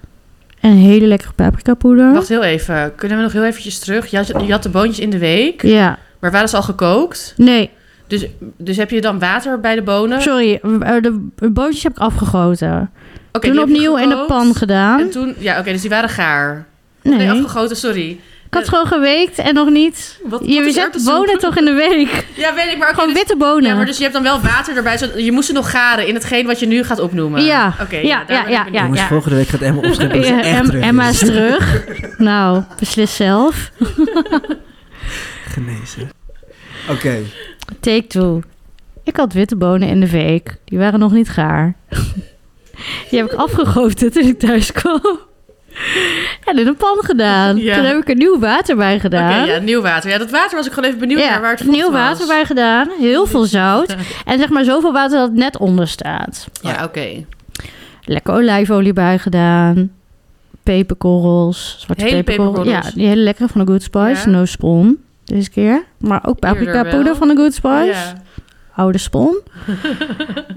S2: en hele lekkere paprika poeder.
S1: Wacht heel even. Kunnen we nog heel eventjes terug? Je had, je had de boontjes in de week,
S2: Ja,
S1: maar waren ze al gekookt?
S2: nee,
S1: Dus, dus heb je dan water bij de bonen? Oké,
S2: sorry. eh, De bootjes heb ik afgegoten.
S1: die
S2: toen
S1: heb je
S2: opnieuw in de
S1: gekookt.
S2: pan gedaan.
S1: En toen, ja, oké, dus die waren gaar.
S2: nee,
S1: Nee, afgegoten, sorry.
S2: ik had gewoon geweekt en nog niet.
S1: Wat, wat
S2: Je
S1: is
S2: zet
S1: erwtensoep?
S2: bonen toch in de week?
S1: Ja, weet ik, maar... oké,
S2: Gewoon
S1: dus-
S2: witte bonen.
S1: Ja, maar dus je hebt dan wel water erbij. Zodat, je moest ze nog garen in hetgeen wat je nu gaat opnoemen.
S2: Ja,
S1: Oké,
S2: ja,
S1: daar
S2: ja,
S1: ben ik
S2: ja,
S1: benieuwd.
S2: ja.
S3: Jongens, volgende week gaat Emma opschrijven dat ze
S2: Ja,
S3: echt
S2: Em-
S3: terug
S2: Emma
S3: is.
S2: is terug. nou, beslis zelf.
S3: Genezen. Oké.
S2: Take two. Ik had witte bonen in de week. Die waren nog niet gaar. Die heb ik afgegoten toen ik thuis kwam. En in een pan gedaan.
S1: Ja.
S2: Toen heb ik er nieuw water bij
S1: Oké,
S2: gedaan.
S1: ja, nieuw water. Ja, dat water was ik gewoon even benieuwd naar waar het vocht
S2: nieuw
S1: was.
S2: water bij gedaan. Heel veel zout. En zeg maar zoveel water dat het net onder staat.
S1: Ja, oké.
S2: lekker olijfolie bij gedaan. Peperkorrels, zwarte
S1: Hele
S2: peperkorrels. Ja,
S1: peperkorrels.
S2: die hele lekkere van de Good Spice.
S1: Ja.
S2: No spon deze keer. Maar ook
S1: Eerder
S2: paprika
S1: wel.
S2: poeder van de Good Spice.
S1: Ja.
S2: Oude spon.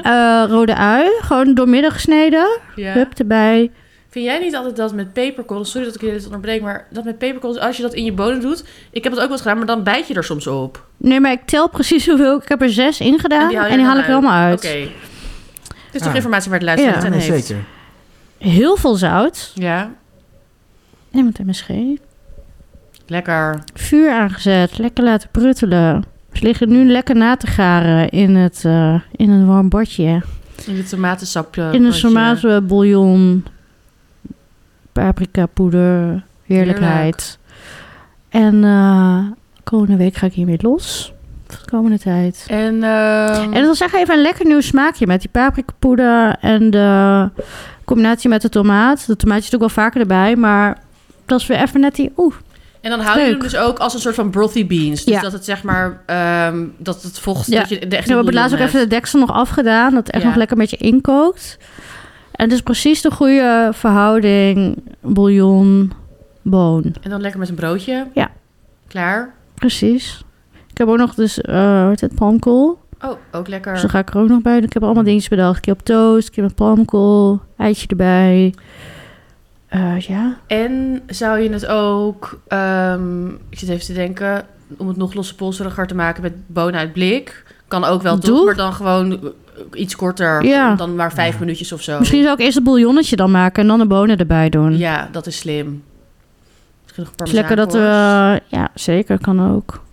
S2: Eh, rode ui, gewoon doormidden gesneden.
S1: Ja.
S2: Hup erbij.
S1: Vind jij niet altijd dat met peperkorrels... Sorry dat ik je dit onderbreek, maar dat met peperkorrels... Als je dat in je bonen doet... Ik heb het ook wel eens gedaan, maar dan bijt je er soms op.
S2: Nee, maar ik tel precies hoeveel. Ik heb er zes in gedaan. En die haal,
S1: je
S2: ik
S1: dan
S2: er allemaal uit.
S1: Oké. Het is toch
S3: Ah.
S1: informatie waar de luisteraar
S2: Ja.
S1: het
S3: Ja,
S1: aan
S3: nee,
S1: heeft.
S3: zeker.
S2: Heel veel zout.
S1: Ja,
S2: Neem het MSG.
S1: lekker.
S2: Vuur aangezet. Lekker laten pruttelen. Ze liggen nu lekker na te garen in, het, eh, in een warm bordje.
S1: In het tomatensapje.
S2: In een
S1: potje.
S2: tomatenbouillon, paprika poeder, heerlijkheid. En eh, komende week ga ik hiermee los. Voor de komende tijd.
S1: En, ehm,
S2: En dat was echt even een lekker nieuw smaakje met die paprika poeder en de combinatie met de tomaat. De tomaatje is ook wel vaker erbij, maar dat is weer even net die... Oeh,
S1: en dan hou je hem
S2: leuk.
S1: dus ook als een soort van brothy beans. Dus
S2: Ja.
S1: dat het zeg maar, ehm, dat het vocht,
S2: Ja. Nou,
S1: dat je de
S2: we
S1: echte
S2: hebben het laatst ook
S1: bouillon
S2: even de
S1: hebt.
S2: deksel nog afgedaan, dat het echt
S1: Ja.
S2: nog lekker met je inkookt. En het is precies de goede verhouding bouillon-boon.
S1: En dan lekker met een broodje.
S2: Ja.
S1: Klaar.
S2: Precies. Ik heb ook nog dus, eh hoe heet het, palmkool.
S1: Oh, ook lekker.
S2: Dus daar ga ik er ook nog bij doen. Ik heb allemaal dingetjes bedacht. Een keer op toast, een keer met palmkool, eitje erbij. Eh, ja.
S1: En zou je het ook, ehm, ik zit even te denken, om het nog losse polseriger te maken met bonen uit blik. Kan ook wel, toch?
S2: Doe.
S1: Maar dan gewoon eh, iets korter.
S2: Ja.
S1: Dan maar vijf
S3: Ja.
S1: minuutjes of zo.
S2: Misschien zou ik eerst het bouillonnetje dan maken en dan de bonen erbij doen. Het
S1: Ja, dat is slim. Misschien nog
S2: is lekker dat we...
S1: parmezaankorst.
S2: ja, zeker. Kan ook.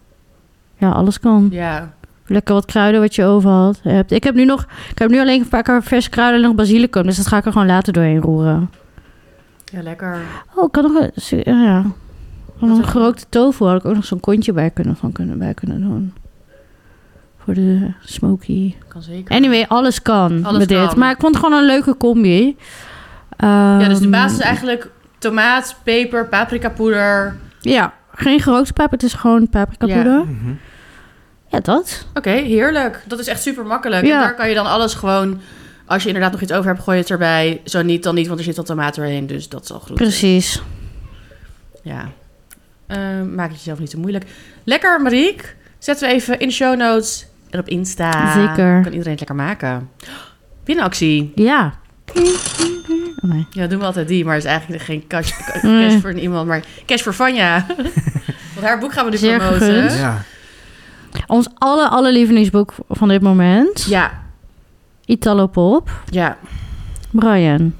S2: Ja, alles kan.
S1: Ja,
S2: Lekker wat kruiden wat je over had, hebt. Ik heb nu nog... Ik heb nu alleen een paar keer verse kruiden en nog basilicum. Dus dat ga ik er gewoon later doorheen roeren.
S1: ja, lekker.
S2: Oh, ik had nog een... Ja.
S1: Wat
S2: Een
S1: heb je?
S2: gerookte tofu had ik ook nog zo'n kontje bij kunnen, van kunnen, bij kunnen doen. Voor de smoky.
S1: Kan zeker.
S2: Anyway, alles kan
S1: Alles
S2: met dit.
S1: kan.
S2: Maar ik vond het gewoon een leuke combi.
S1: ja, dus de
S2: Ehm,
S1: basis is eigenlijk tomaat, peper, paprikapoeder.
S2: Ja, geen gerookte paprika. Het is gewoon paprika
S1: Ja.
S2: poeder.
S3: Mhm.
S2: Ja, dat.
S1: Oké, heerlijk. Dat is echt super makkelijk. En
S2: Ja.
S1: daar kan je dan alles gewoon... Als je inderdaad nog iets over hebt, gooi je het erbij. Zo niet, dan niet, want er zit al tomaat doorheen. Dus dat is al goed.
S2: Precies.
S1: Ja. Eh, maak het jezelf niet te moeilijk. Lekker, Mariek. Zetten we even in de show notes en op Insta.
S2: Zeker.
S1: Kan iedereen het lekker maken. Winactie.
S2: Ja. Oh, nee.
S1: Ja, doen we altijd die, maar het is eigenlijk geen cash, cash
S2: Nee.
S1: voor iemand, maar cash voor Vanja. Want haar boek gaan we nu
S2: Zeer
S1: promoten.
S2: gegund.
S3: Ja.
S2: Ons alle, alle lievelingsboek van dit moment.
S1: Ja,
S2: Italo Pop.
S1: ja.
S2: Brian.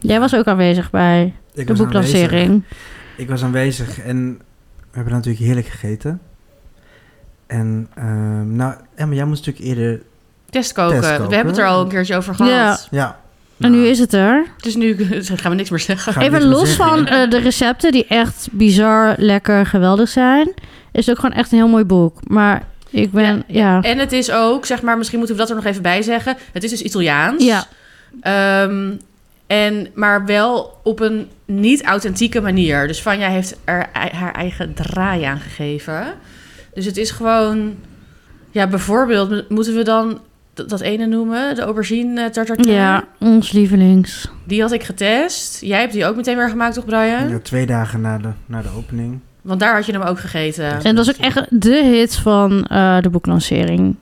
S2: Jij was ook aanwezig bij de
S3: Ik was aanwezig.
S2: boeklancering.
S3: Ik was aanwezig en we hebben natuurlijk heerlijk gegeten. En ehm, nou, Emma, jij moest natuurlijk eerder...
S1: Testkoken.
S3: Testkoken.
S1: We hebben het er al een keertje over gehad.
S2: Ja.
S3: Ja.
S2: En
S3: Nou.
S2: nu is het er.
S1: Dus nu gaan we niks meer zeggen.
S3: Ga ik
S2: Even
S3: niks meer
S2: los
S3: zeggen.
S2: van eh, de recepten die echt bizar, lekker, geweldig zijn. Is het ook gewoon echt een heel mooi boek. Maar ik ben, ja.
S1: En het is ook, zeg maar, misschien moeten we dat er nog even bij zeggen. Het is dus Italiaans.
S2: Ja.
S1: Ehm, en, maar wel op een niet authentieke manier. Dus Vanja heeft er ei- haar eigen draai aan gegeven. Dus het is gewoon... Ja, bijvoorbeeld mo- moeten we dan dat, dat ene noemen? De aubergine eh, tartartare?
S2: Ja, ons lievelings.
S1: Die had ik getest. Jij hebt die ook meteen weer gemaakt, toch Brian?
S3: Ja, twee dagen na de, na de opening.
S1: Want daar had je hem ook gegeten.
S2: En dat was ook echt de hit van eh, de boeklancering.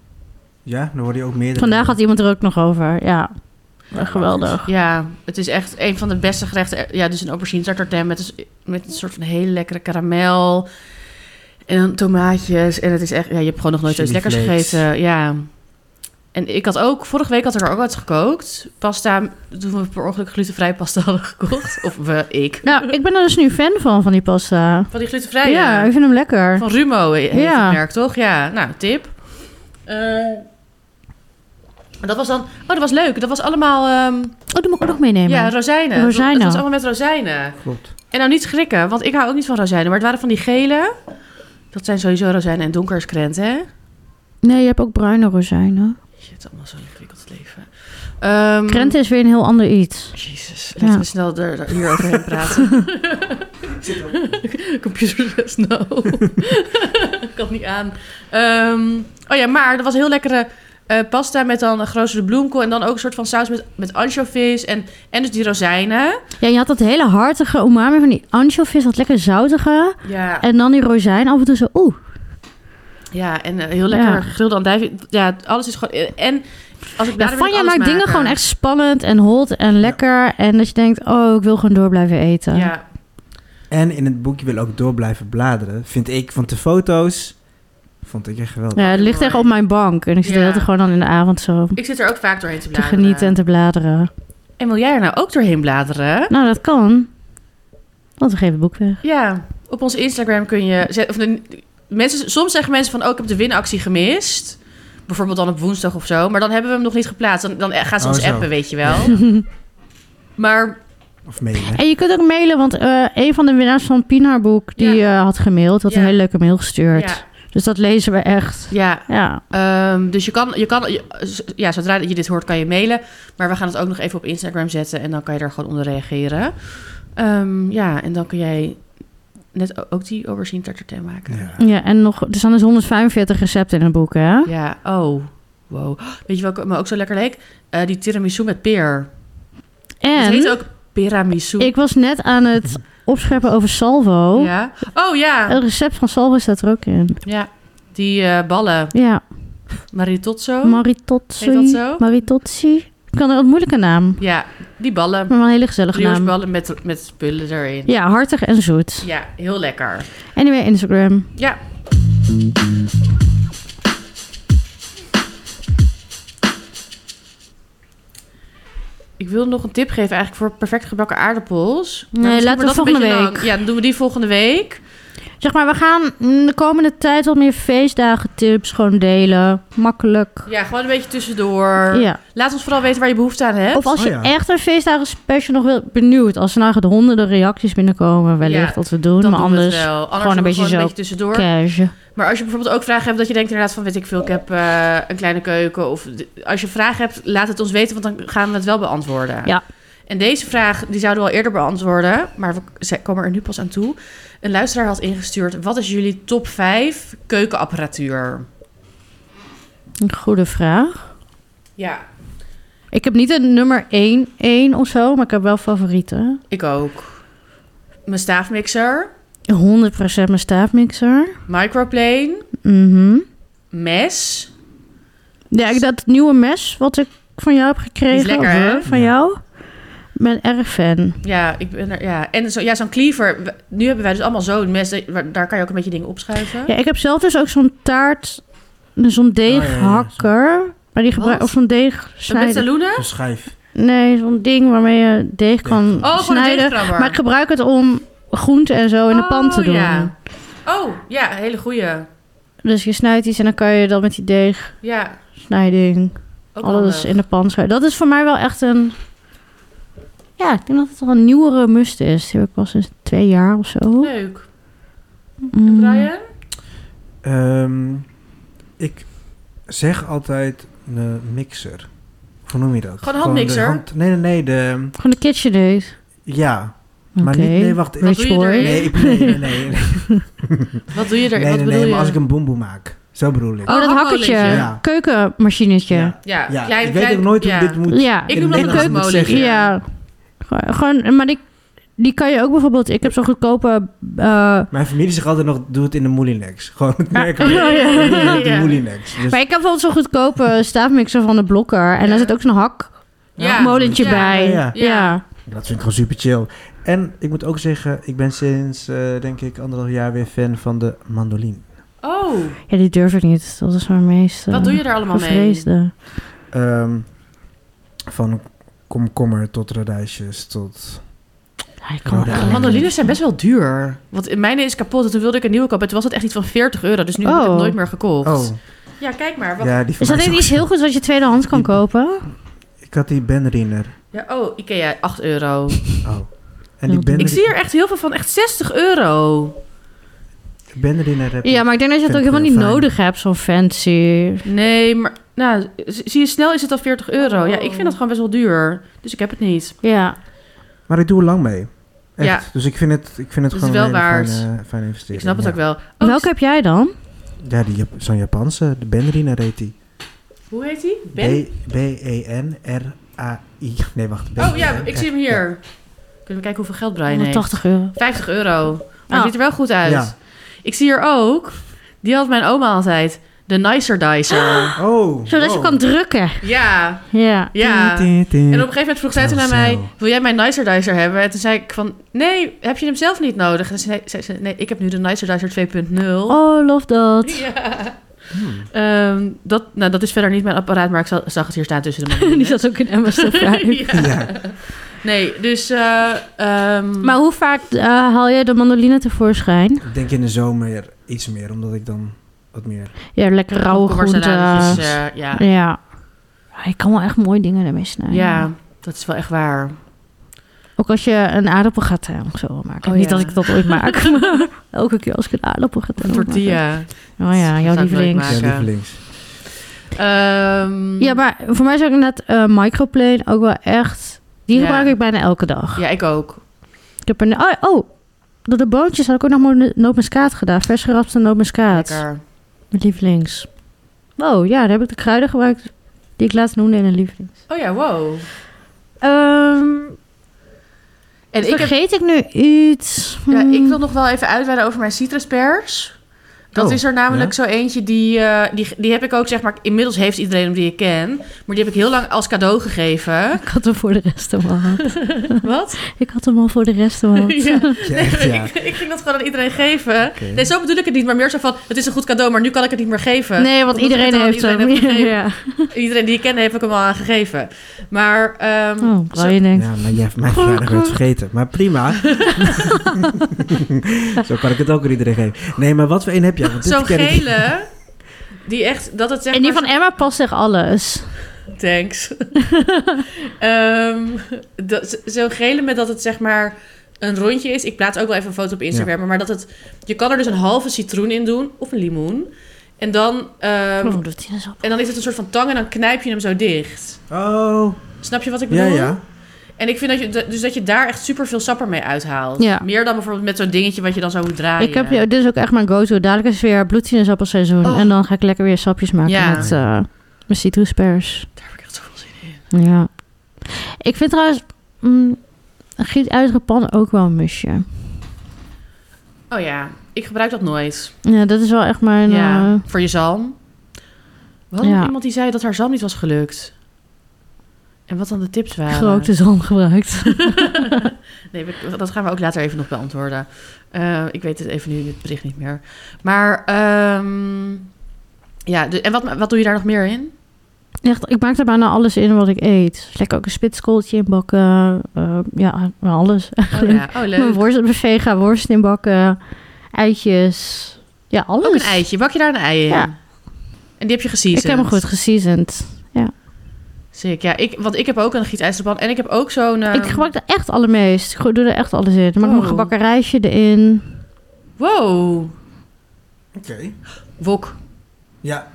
S3: Ja, dan hoorde je ook meerdere...
S2: Vandaag had iemand er ook nog over. Ja,
S3: Ja,
S2: geweldig.
S1: Ja, het is echt een van de beste gerechten. Ja, dus een aubergine tartartare met, een s- met een soort van hele lekkere karamel. En dan tomaatjes. En het is echt... Ja, je hebt gewoon nog nooit iets
S3: Chili
S1: lekkers
S3: flakes.
S1: gegeten. Ja. En ik had ook... Vorige week had ik er ook wat gekookt. Pasta, toen we per ongeluk glutenvrij pasta hadden gekocht. Of we, ik.
S2: Nou, ik ben er dus nu fan van, van die pasta.
S1: Van die glutenvrije.
S2: Ja, ik vind hem lekker.
S1: Van Rumo heet
S2: Ja.
S1: het merk, toch? Ja, nou, tip. Eh, en dat was dan... Oh, dat was leuk. Dat was allemaal... ehm,
S2: Oh, die moet ik ook nog meenemen.
S1: ja, rozijnen.
S2: Oh, Rozijnen.
S1: Het was allemaal met rozijnen.
S3: Klopt.
S1: En nou niet schrikken, want ik hou ook niet van rozijnen. Maar het waren van die gele. Dat zijn sowieso rozijnen en donker is krent, hè?
S2: Nee, je hebt ook bruine rozijnen.
S1: Shit, allemaal zo ingewikkeld het leven. Ehm,
S2: Krenten is weer een heel ander iets.
S1: Jezus, laten
S2: Ja.
S1: we snel er, er hier overheen praten. Computer says no. Ik kan niet aan. Ehm, oh ja, maar er was een heel lekkere eh, pasta met dan een grotere bloemkool... en dan ook een soort van saus met, met anchovies en, en dus die rozijnen.
S2: Ja, je had dat hele hartige umami van die anchovies, dat lekker zoutige.
S1: Ja,
S2: En dan die rozijn af en toe zo, oeh.
S1: ja en eh, heel lekker
S2: Ja.
S1: gegrilde andijvie. Ja, alles is gewoon... eh, En als ik
S2: Ja,
S1: daar
S2: Vanja maakt dingen gewoon echt spannend en hot en lekker. En dat je denkt, oh, ik wil gewoon door blijven eten.
S1: Ja,
S3: En in het boekje wil ook door blijven bladeren. Vind ik, want de foto's vond ik echt geweldig.
S2: Ja, het ligt echt op mijn bank. En ik zit
S1: Ja.
S2: de hele tijd gewoon dan in de avond zo
S1: ik zit er ook vaak doorheen te
S2: te
S1: bladeren.
S2: genieten en te bladeren.
S1: En wil jij er nou ook doorheen bladeren?
S2: Nou, dat kan. Want we geven het boek weg.
S1: Ja, op ons Instagram kun je. zet- Of de, mensen, soms zeggen mensen van: Oh, ik heb de winactie gemist. Bijvoorbeeld dan op woensdag of zo. Maar dan hebben we hem nog niet geplaatst. Dan, dan gaan ze
S3: Oh,
S1: ons
S3: zo.
S1: appen, weet je wel. maar
S3: Of mailen.
S2: En je kunt ook mailen, want eh, een van de winnaars van het Pinaarboek... die eh, had gemaild, had een
S1: Ja.
S2: hele leuke mail gestuurd.
S1: ja,
S2: Dus dat lezen we echt.
S1: ja
S2: Ja,
S1: ehm, dus je kan, je kan je- ja, zodra je dit hoort, kan je mailen. Maar we gaan het ook nog even op Instagram zetten. En dan kan je daar gewoon onder reageren. Ehm, ja, en dan kun jij net o- ook die aubergine tartartin maken.
S3: Ja.
S2: ja en nog, er staan dus 145 recepten in het boek, hè?
S1: Ja, oh, wow. Weet je welke me ook zo lekker leek? Eh, die tiramisu met peer. Het heet
S2: En
S1: ook tiramisu.
S2: ik was net aan het opscheppen over salvo.
S1: Ja. Oh ja.
S2: Het recept van salvo staat er ook in.
S1: Ja. Die eh, ballen.
S2: Ja,
S1: Maritozzo.
S2: maritozzi.
S1: Oh. Heet dat zo?
S2: Maritozzi. Ik kan er een moeilijke naam.
S1: ja, die ballen.
S2: Maar wel een hele gezellige naam.
S1: Briocheballen met, met spullen erin.
S2: Ja, hartig en zoet.
S1: Ja, heel lekker.
S2: Anyway, Instagram.
S1: Ja. Ik wil nog een tip geven eigenlijk voor perfect gebakken aardappels. Maar
S2: Nee,
S1: misschien
S2: laten we
S1: wordt dat een
S2: volgende
S1: beetje
S2: week.
S1: lang. Ja, dan doen we die volgende week.
S2: Zeg maar, we gaan mm, de komende tijd wat meer feestdagen tips gewoon delen. Makkelijk.
S1: Ja, gewoon een beetje tussendoor.
S2: Ja.
S1: Laat ons vooral weten waar je behoefte aan hebt.
S2: Of als je
S3: Oh ja.
S2: echt een feestdagen special nog wil, benieuwd. Als er nou echt honderden reacties binnenkomen, wellicht
S1: Ja,
S2: dat we doen.
S1: dan
S2: maar
S1: doen we het
S2: anders
S1: wel. Anders
S2: gewoon een
S1: doen we
S2: beetje
S1: gewoon
S2: zo
S1: een beetje tussendoor.
S2: cash.
S1: Maar als je bijvoorbeeld ook vragen hebt dat je denkt inderdaad van weet ik veel, ik heb eh, een kleine keuken. Of d- als je vragen hebt, laat het ons weten, want dan gaan we het wel beantwoorden.
S2: Ja.
S1: En deze vraag, die zouden we al eerder beantwoorden, maar we k- ze- komen er nu pas aan toe. Een luisteraar had ingestuurd, wat is jullie top 5 keukenapparatuur?
S2: Een goede vraag.
S1: Ja,
S2: Ik heb niet een nummer 1, 1 of zo, maar ik heb wel favorieten.
S1: ik ook. Mijn staafmixer,
S2: 100% mijn staafmixer.
S1: microplane,
S2: Mhm.
S1: mes.
S2: Ja, ik, dat nieuwe mes wat ik van jou heb gekregen.
S1: Die is lekker,
S2: of,
S1: hè?
S2: eh, Van
S3: Ja.
S2: jou. Ik ben erg fan.
S1: Ja, ik ben er, ja. en zo, ja, zo'n cleaver. We- Nu hebben wij dus allemaal zo'n mes, daar- waar- daar kan je ook een beetje dingen opschuiven.
S2: Ja, ik heb zelf dus ook zo'n taart,
S1: Oh,
S2: zo'n deeghakker. Maar die gebruik,
S1: Wat?
S2: of zo'n deeg
S1: Een
S2: snijden.
S1: metaloenen?
S3: Een schijf.
S2: Nee, zo'n ding waarmee je deeg kan
S1: Oh, voor de
S2: snijden.
S1: deegkrabber.
S2: Maar ik gebruik het om groenten en zo in de pan te
S1: Oh,
S2: doen.
S1: Ja. Oh, ja, een hele goeie.
S2: Dus je snijdt iets en dan kan je dan met die deeg,
S1: Ja,
S2: snijding,
S1: ook
S2: alles
S1: handig.
S2: in de pan schuiven. Dat is voor mij wel echt een... Ja, ik denk dat het wel een nieuwere must is. Die heb ik pas sinds twee jaar of zo.
S1: Leuk. En
S2: Mm.
S1: Brian?
S3: Ehm, ik zeg altijd een mixer. Hoe noem je dat?
S1: Gewoon een
S3: de
S1: handmixer?
S3: hand- nee, nee, nee. De,
S2: Gewoon de kitchen deed.
S3: ja,
S2: Oké.
S3: maar niet... Nee, wacht.
S1: Wat
S3: Ik,
S1: doe
S2: Rich
S1: je
S2: boy.
S1: erin?
S3: nee, ik, nee, nee, nee. Nee,
S1: Wat doe je er?
S3: nee,
S1: Wat
S3: nee,
S1: bedoel je?
S3: maar als ik een boemboe maak. Zo bedoel ik.
S2: Oh, dat
S1: Oh,
S2: hakkertje.
S1: hakmolletje.
S3: Ja.
S2: Keukenmachinetje. Ja.
S1: Ja,
S3: Ja,
S1: klein,
S3: ik weet
S1: klein-
S3: ook nooit
S1: ja.
S3: hoe dit moet...
S2: ja.
S1: Ik
S3: in
S1: noem dat een
S3: Nederlands moet
S1: keukenmolen.
S3: zeggen.
S2: Gewoon- Gewoon, maar die, die kan je ook bijvoorbeeld... Ik heb zo'n goedkope... eh,
S3: Mijn familie zegt altijd nog, doe het in de Moulinex. Gewoon het merk.
S2: Oh, ja.
S3: Doe het in
S1: Ja.
S3: de Moulinex. Dus
S2: maar ik heb bijvoorbeeld zo'n goedkope staafmixer van de Blokker. En
S1: Ja.
S2: daar zit ook zo'n hakmolentje
S1: Ja. Ja.
S2: bij.
S3: Ja.
S1: Ja.
S2: ja.
S3: dat vind ik gewoon super chill. En ik moet ook zeggen, ik ben sinds, eh, denk ik, anderhalf jaar weer fan van de mandoline.
S1: Oh,
S2: Ja, die durf ik niet. Dat is mijn meest... eh,
S1: wat doe je er allemaal mee?
S2: gevreesde.
S3: Ehm, van komkommer tot radijsjes tot...
S2: Ja, ik kan
S3: Oh,
S2: echt
S3: ja.
S2: niet.
S1: Mandolines zijn best wel duur. Want mijn is kapot en toen wilde ik een nieuwe kopen. Toen was het echt iets van 40 euro, dus nu heb ik
S2: Oh.
S1: het nooit meer gekocht.
S3: Oh,
S1: Ja, kijk maar. Wat... Ja.
S3: ja, die van
S2: Is dat
S3: mij
S2: niet
S3: ook
S2: iets
S3: zo-
S2: heel goeds wat je tweedehands kan kopen?
S3: Ik had die benriner.
S1: oh, Ikea, 8 euro.
S3: Oh. En die
S1: Ik
S3: benriner,
S1: zie er echt heel veel van, echt 60 euro.
S3: benriner heb
S2: Ja,
S3: ik.
S2: maar ik denk dat je dat ook
S3: Vind ik
S2: helemaal
S3: wel
S2: niet
S3: fijn.
S2: nodig hebt, zo'n fancy.
S1: Nee, maar nou, z- zie je, snel is het al 40 euro. Ja, ik vind dat gewoon best wel duur. Dus ik heb het niet.
S2: Ja.
S3: Maar ik doe er lang mee. Echt.
S1: Ja.
S3: Dus ik vind het, ik vind het
S1: is
S3: gewoon
S1: wel
S3: een hele
S1: waard.
S3: Fijne, fijne
S1: Ik
S3: investering.
S1: snap het
S3: ja.
S1: ook wel. Oh,
S2: Welke heb jij dan?
S3: Ja, die Jap- zo'n Japanse. De benriner heet die.
S1: Hoe heet die? Ben?
S3: B- B-E-N-R-A-I. Nee, wacht. B-
S1: Oh ja,
S3: E-
S1: ik zie hem hier. Kunnen we kijken hoeveel geld Brian heeft?
S2: 180 euro.
S1: 50 euro. Maar
S2: Ah.
S1: ziet er wel goed uit.
S3: Ja.
S1: Ik zie hier ook, die had mijn oma altijd, de Nicer Dicer.
S3: Oh,
S2: Zodat je
S3: wow.
S2: kan drukken.
S1: Ja,
S2: Ja.
S1: ja.
S3: Tin, tin, tin.
S1: En op
S2: Hmm.
S1: een gegeven moment vroeg zij toen
S2: Nou,
S1: aan
S3: Zo,
S1: mij,
S3: zo.
S1: wil jij mijn Nicer Dicer hebben? En toen zei ik van, nee, heb je hem zelf niet nodig? En toen zei ze, nee, ik heb nu de Nicer Dicer 2.0.
S2: Oh, love dat.
S1: Ja.
S3: Hmm.
S1: Ehm, dat, nou, dat is verder niet mijn apparaat, maar ik za- zag het hier staan tussen de mannen.
S2: Die zat ook in Emma's top vijf.
S1: ja.
S3: Ja.
S1: Nee, dus... eh, ehm,
S2: Maar hoe vaak eh, haal jij de mandoline tevoorschijn?
S3: Ik denk in de zomer iets meer, omdat ik dan wat meer...
S2: Ja, lekker rauwe groenten.
S1: komkommersalades, eh, ja.
S2: ja. Ja, Je kan wel echt mooie dingen ermee snijden.
S1: ja, dat is wel echt waar.
S2: Ook als je een aardappelgratin of zo wil maken.
S1: Oh,
S2: Niet
S1: ja.
S2: dat ik dat ooit maak, maar elke keer als ik een aardappelgratin
S1: Een
S2: wil
S1: tortilla.
S2: maken. Oh ja,
S1: Dat
S2: jouw
S1: zou ik nooit
S2: lievelings.
S1: maken.
S3: Ja, lievelings.
S1: Ehm,
S2: Ja, maar voor mij is ook net eh microplane ook wel echt... Die
S1: Ja.
S2: gebruik ik bijna elke dag.
S1: Ja, ik ook.
S2: Ik heb er... ne- Oh, oh, door de boontjes had ik ook nog maar nootmuskaat gedaan. Vers gerapte nootmuskaat.
S1: Lekker.
S2: Mijn lievelings. Wow, ja, daar heb ik de kruiden gebruikt die ik laatst noemde in een lievelings.
S1: Oh ja, wow.
S2: Ehm
S1: En ik, heb,
S2: vergeet ik nu iets?
S1: ja,
S2: Hmm.
S1: ik wil nog wel even uitweiden over mijn citruspers. Dat
S3: Oh,
S1: is er namelijk
S3: ja.
S1: zo eentje die, eh, die, die heb ik ook zeg maar, inmiddels heeft iedereen hem die ik ken. Maar die heb ik heel lang als cadeau gegeven.
S2: Ik had hem voor de rest al gehad.
S1: Wat?
S2: ik had hem al voor de rest al gehad.
S1: Ja.
S3: Ja, echt, ja.
S1: ik, ik ging dat gewoon aan iedereen geven.
S3: Oké.
S1: Nee, zo bedoel ik het niet, maar meer zo van... het is een goed cadeau, maar nu kan ik het niet meer geven.
S2: Nee, want
S1: Omdat ik
S2: iedereen
S1: het al aan
S2: heeft hem.
S1: iedereen heb
S2: ja.
S1: Iedereen die ik kende heb ik hem al aan gegeven. Maar ehm,
S2: Oh,
S1: zo-
S2: Brian denkt.
S3: Ja, maar jij hebt mijn verjaardag werd vergeten. Maar prima. Zo kan ik het ook aan iedereen geven. Nee, maar wat voor een heb jij? Want dit
S1: zo'n
S3: ken ik-
S1: gele... die echt... dat het zeg
S2: En die
S1: maar-
S2: van Emma past echt alles.
S1: Thanks. Ehm, dat- z- zo'n gele met dat het zeg maar een rondje is. Ik plaats ook wel even een foto op Instagram. Maar dat het... Je kan er dus een halve citroen in doen. Of een limoen. En dan... ehm,
S2: Waarom doet hij dat zo?
S1: en dan is het een soort van tang en dan knijp je hem zo dicht.
S3: Oh,
S1: Snap je wat ik
S3: ja,
S1: bedoel?
S3: ja.
S1: En ik vind dat je, d- dus dat je daar echt super veel sapper mee uithaalt.
S2: Ja.
S1: Meer dan bijvoorbeeld met zo'n dingetje wat je dan zou moet draaien.
S2: Ik heb, dit is ook echt mijn go-to. Dadelijk is weer bloedsinusappelseizoen.
S1: Oh.
S2: En dan ga ik lekker weer sapjes maken
S1: Ja.
S2: met eh, mijn citruspers.
S1: Daar heb ik echt zoveel zin in.
S2: Ja. Ik vind trouwens mm, een gietuidige pan ook wel een musje.
S1: Oh ja, ik gebruik dat nooit.
S2: Ja, dat is wel echt mijn...
S1: ja,
S2: eh,
S1: voor je zalm. We hadden
S2: Ja.
S1: iemand die zei dat haar zalm niet was gelukt. En wat dan de tips waren.
S2: gerookte zalm gebruikt.
S1: nee, we- dat gaan we ook later even nog beantwoorden. Eh, ik weet het even nu in het bericht niet meer. Maar, ehm, ja, de- en wat, wat doe je daar nog meer in?
S2: Echt, ik maak er bijna alles in wat ik eet. Lekker ook een spitskooltje inbakken. eh ja, alles.
S1: Oh ja, oh
S2: Mijn
S1: leuk.
S2: worst, mijn vega worst inbakken. Eitjes. Ja, alles.
S1: Ook een eitje. Bak je daar een ei in?
S2: Ja.
S1: En die heb je gezien.
S2: Ik heb hem goed geseasoned.
S1: Sick, ja. Ik, want ik heb ook een gietijzerpan. En ik heb ook zo'n... eh,
S2: ik gebruik er echt allermeest. Ik doe er echt alles in. Dan maak
S1: Oh.
S2: ik mijn gebakken rijstje erin.
S1: ehm, Wow.
S3: Oké.
S1: Wok.
S3: Ja.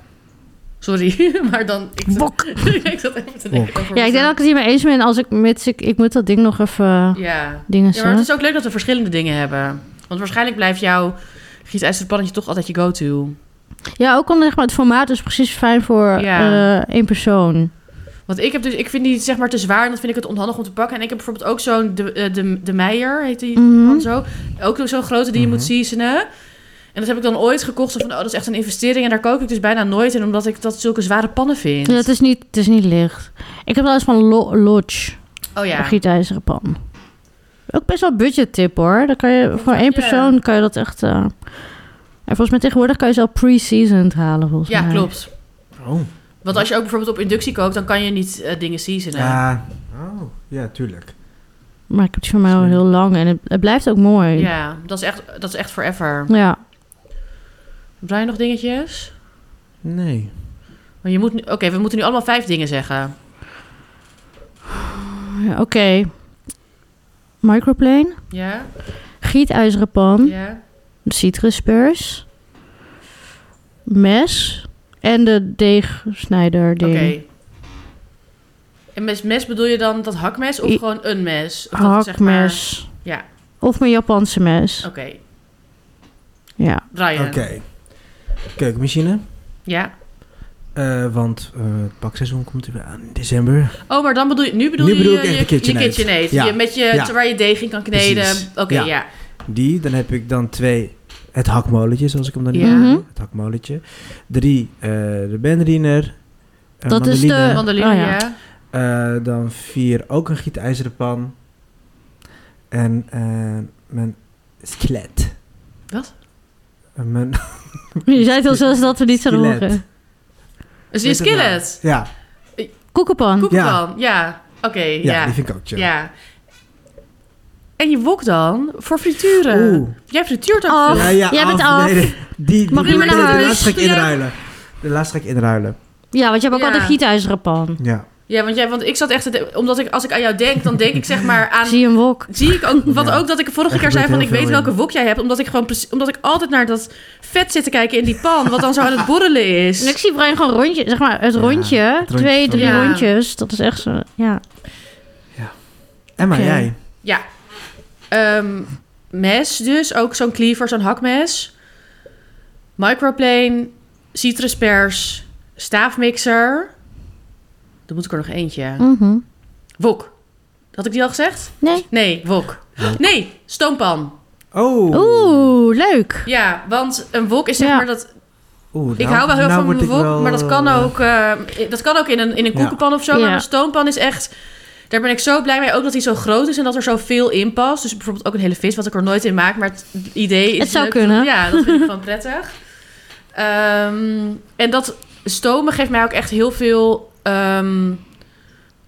S1: Sorry, maar dan... Ik
S2: Wok.
S1: ik zat even te denken over...
S2: Ja, ik denk dat ik het hiermee eens ben als ik mits ik... Ik moet dat ding nog even eh,
S1: Ja. Ja,
S2: dingen
S1: maar het
S2: zetten.
S1: is ook leuk dat we verschillende dingen hebben. Want waarschijnlijk blijft jouw gietijzerpannetje toch altijd je go-to.
S2: Ja, ook omdat zeg maar, het formaat is precies fijn voor
S1: Ja.
S2: eh, één persoon.
S1: Want ik heb dus... Ik vind die zeg maar te zwaar en dat vind ik het onhandig om te pakken. En ik heb bijvoorbeeld ook zo'n... De, eh, de, de Meijer heet die
S2: Mhm.
S1: pan zo. Ook nog zo'n grote die je moet
S3: Mhm.
S1: seasonen. En dat heb ik dan ooit gekocht. Zo van, oh, dat is echt een investering. En daar kook ik dus bijna nooit in. Omdat ik dat zulke zware pannen vind.
S2: Ja, het, is niet, het is niet licht. Ik heb wel eens van Lo- Lodge,
S1: Oh ja.
S2: een gietijzeren pan. Ook best wel budgettip hoor. Dan kan je, voor één
S1: Ja.
S2: persoon kan je dat echt... eh, en volgens mij tegenwoordig kan je ze al pre-seasoned halen volgens
S1: Ja,
S2: mij.
S1: klopt.
S3: Oh.
S1: Want als je ook bijvoorbeeld op inductie kookt, dan kan je niet eh, dingen seasonen.
S3: Ja. Oh. Ja, tuurlijk.
S2: Maar ik heb die van mij al heel lang en het, het blijft ook mooi.
S1: Ja, dat is echt, dat is echt forever.
S2: Ja.
S1: Zijn er nog dingetjes?
S3: Nee.
S1: Maar je moet nu, Oké, we moeten nu allemaal vijf dingen zeggen.
S2: Ja, Eh, Oké. Microplane,
S1: Ja?
S2: gietijzeren pan,
S1: Ja?
S2: citruspers, mes en de deegsnijder
S1: Oké.
S2: ding.
S1: En met mes bedoel je dan dat hakmes of
S2: I-
S1: gewoon een mes? Of dus dat het zeg maar-
S2: Hakmes.
S1: Ja, Oh.
S2: Of mijn Japanse mes.
S1: oké.
S2: Ja.
S1: Brian.
S3: Oké. Keukenmachine.
S1: Ja.
S3: Eh, want eh, het bakseizoen komt er weer aan in december.
S1: Oh, maar dan bedoel je... Nu bedoel
S3: Nu
S1: je
S3: bedoel ik
S1: je,
S3: echt
S1: je,
S3: de KitchenAid.
S1: je KitchenAid.
S3: Ja.
S1: Je- met je,
S3: Ja.
S1: Waar je deeg in kan kneden.
S3: Precies.
S1: Oké,
S3: Ja.
S1: ja.
S3: Die, dan heb ik dan twee, het hakmoletje, zoals ik hem dan
S1: Ja.
S3: noem.
S2: Mhm.
S3: Het hakmoletje. Drie, eh, de bandriener. Eh,
S2: Dat is de-
S3: mandoline.
S1: Mandoline,
S2: Oh, ja.
S1: ja.
S3: Eh, dan vier, ook een gietijzeren pan. En eh, mijn skelet.
S1: Wat?
S3: Eh, Mijn,
S2: Je zei het al zelfs dat we niet zouden
S3: Skillet.
S2: horen.
S1: Dus die
S3: Weet het nou.
S1: skillet.
S3: ja,
S2: Koekenpan.
S1: Koekenpan. Ja. Oké,
S3: ja, die vind ik ook chill.
S1: Ja. En je wok dan voor frituren.
S3: Oeh.
S1: Jij frituurt ook
S2: Oh.
S1: veel.
S3: Ja, ja,
S2: Jij bent af.
S3: nee, nee. die,
S2: Mag
S3: die-
S2: je maar naar
S3: nee,
S2: huis?
S3: De laatste ga ik
S1: Doe jij-
S3: inruilen. De laatste ga ik inruilen.
S2: Ja, want je hebt ook
S1: Ja.
S2: al de gietijzeren pan.
S3: Ja.
S1: Ja, want, jij, want ik zat echt... te de- Omdat ik, als ik aan jou denk, dan denk ik zeg maar aan...
S2: Zie je een wok.
S1: Zie ik ook, want
S3: Ja.
S1: ook dat ik vorige
S3: Er
S1: keer zei van
S3: gebeurt heel
S1: ik weet
S3: veel
S1: welke
S3: in.
S1: wok jij hebt. Omdat ik, gewoon, precies- omdat ik altijd naar dat vet zit te kijken in die pan. Wat dan zo aan het borrelen
S2: En ik
S1: is.
S2: zie Brian gewoon rondje, zeg maar het
S3: Ja,
S2: rondje,
S3: rondje
S2: twee,
S3: van-
S2: drie
S1: Ja.
S2: rondjes. Dat is echt zo, ja.
S3: Emma,
S2: Oké.
S3: jij?
S1: Ja. Ehm, mes dus. Ook zo'n cleaver, zo'n hakmes. Microplane. Citruspers. Staafmixer. Dan moet ik er nog eentje.
S2: Mhm.
S1: Wok. Had ik die al gezegd?
S2: Nee.
S1: Nee, wok.
S3: Wok.
S1: Nee, stoompan.
S3: Oh.
S2: Oeh, leuk.
S1: Ja, want een wok is zeg
S2: Ja.
S1: maar dat...
S3: Oeh,
S1: Ik
S3: nou-
S1: hou wel heel
S3: nou
S1: erg van
S3: word
S1: mijn
S3: ik
S1: wok,
S3: wel,
S1: maar dat kan
S3: eh,
S1: ook, eh, dat kan ook in een, in een
S3: Ja.
S1: koekenpan of zo.
S2: Ja.
S1: Maar een stoompan is echt... Daar ben ik zo blij mee. Ook dat hij zo groot is en dat er zoveel in past. Dus bijvoorbeeld ook een hele vis, wat ik er nooit in maak. Maar het idee is...
S2: Het zou
S1: leuk.
S2: kunnen.
S1: Ja, dat vind ik gewoon prettig. Ehm, en dat stomen geeft mij ook echt heel veel... ehm,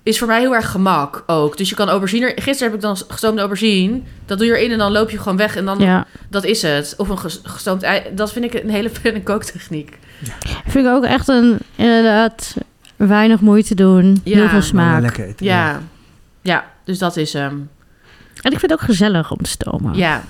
S1: is voor mij heel erg gemak ook. Dus je kan aubergine... er- Gisteren heb ik dan gestoomde aubergine. Dat doe je erin en dan loop je gewoon weg. En dan...
S2: Ja,
S1: Dat is het. Of een ges- gestoomd ei. Dat vind ik een hele fijne kooktechniek.
S2: vind ik ook echt een, inderdaad, weinig moeite doen,
S1: Ja.
S2: heel veel
S3: wel
S2: smaak.
S3: lekker eten.
S1: Ja. Ja, dus dat is hem.
S2: En ik vind het ook gezellig om te stomen.
S1: Ja.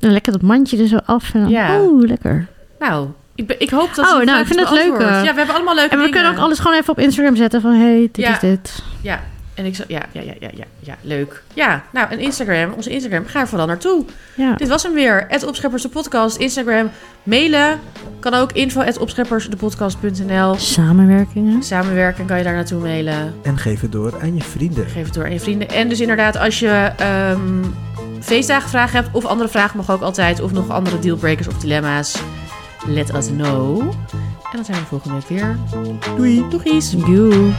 S2: En lekker dat mandje er zo af en dan,
S1: Ja.
S2: oeh, lekker.
S1: Nou, ik, be- ik hoop dat...
S2: Oh,
S1: die
S2: nou,
S1: vraag
S2: ik vind
S1: is
S2: het leuk,
S1: beantwoord.
S2: hè.
S1: Ja, we hebben allemaal leuke
S2: En we
S1: dingen.
S2: kunnen ook alles gewoon even op Instagram zetten van... hey, dit
S1: Ja.
S2: is dit.
S1: Ja. En ik zo... Ja, ja, ja, ja, ja, ja. Leuk. Ja, nou, en Instagram. Onze Instagram. Ga er vooral naartoe.
S2: Ja.
S1: Dit was hem weer. Het Opscheppers de podcast. Instagram. Mailen. Kan ook info at opscheppersdepodcast.nl
S2: Samenwerkingen.
S1: Samenwerken kan je daar naartoe mailen.
S3: En geef het door aan je vrienden.
S1: Geef het door aan je vrienden. En dus inderdaad, als je ehm feestdagenvragen hebt of andere vragen mag ook altijd. Of nog andere dealbreakers of dilemma's. Let us know. En dan zijn we volgende week weer.
S3: Doei.
S1: Doegies!
S2: Joe.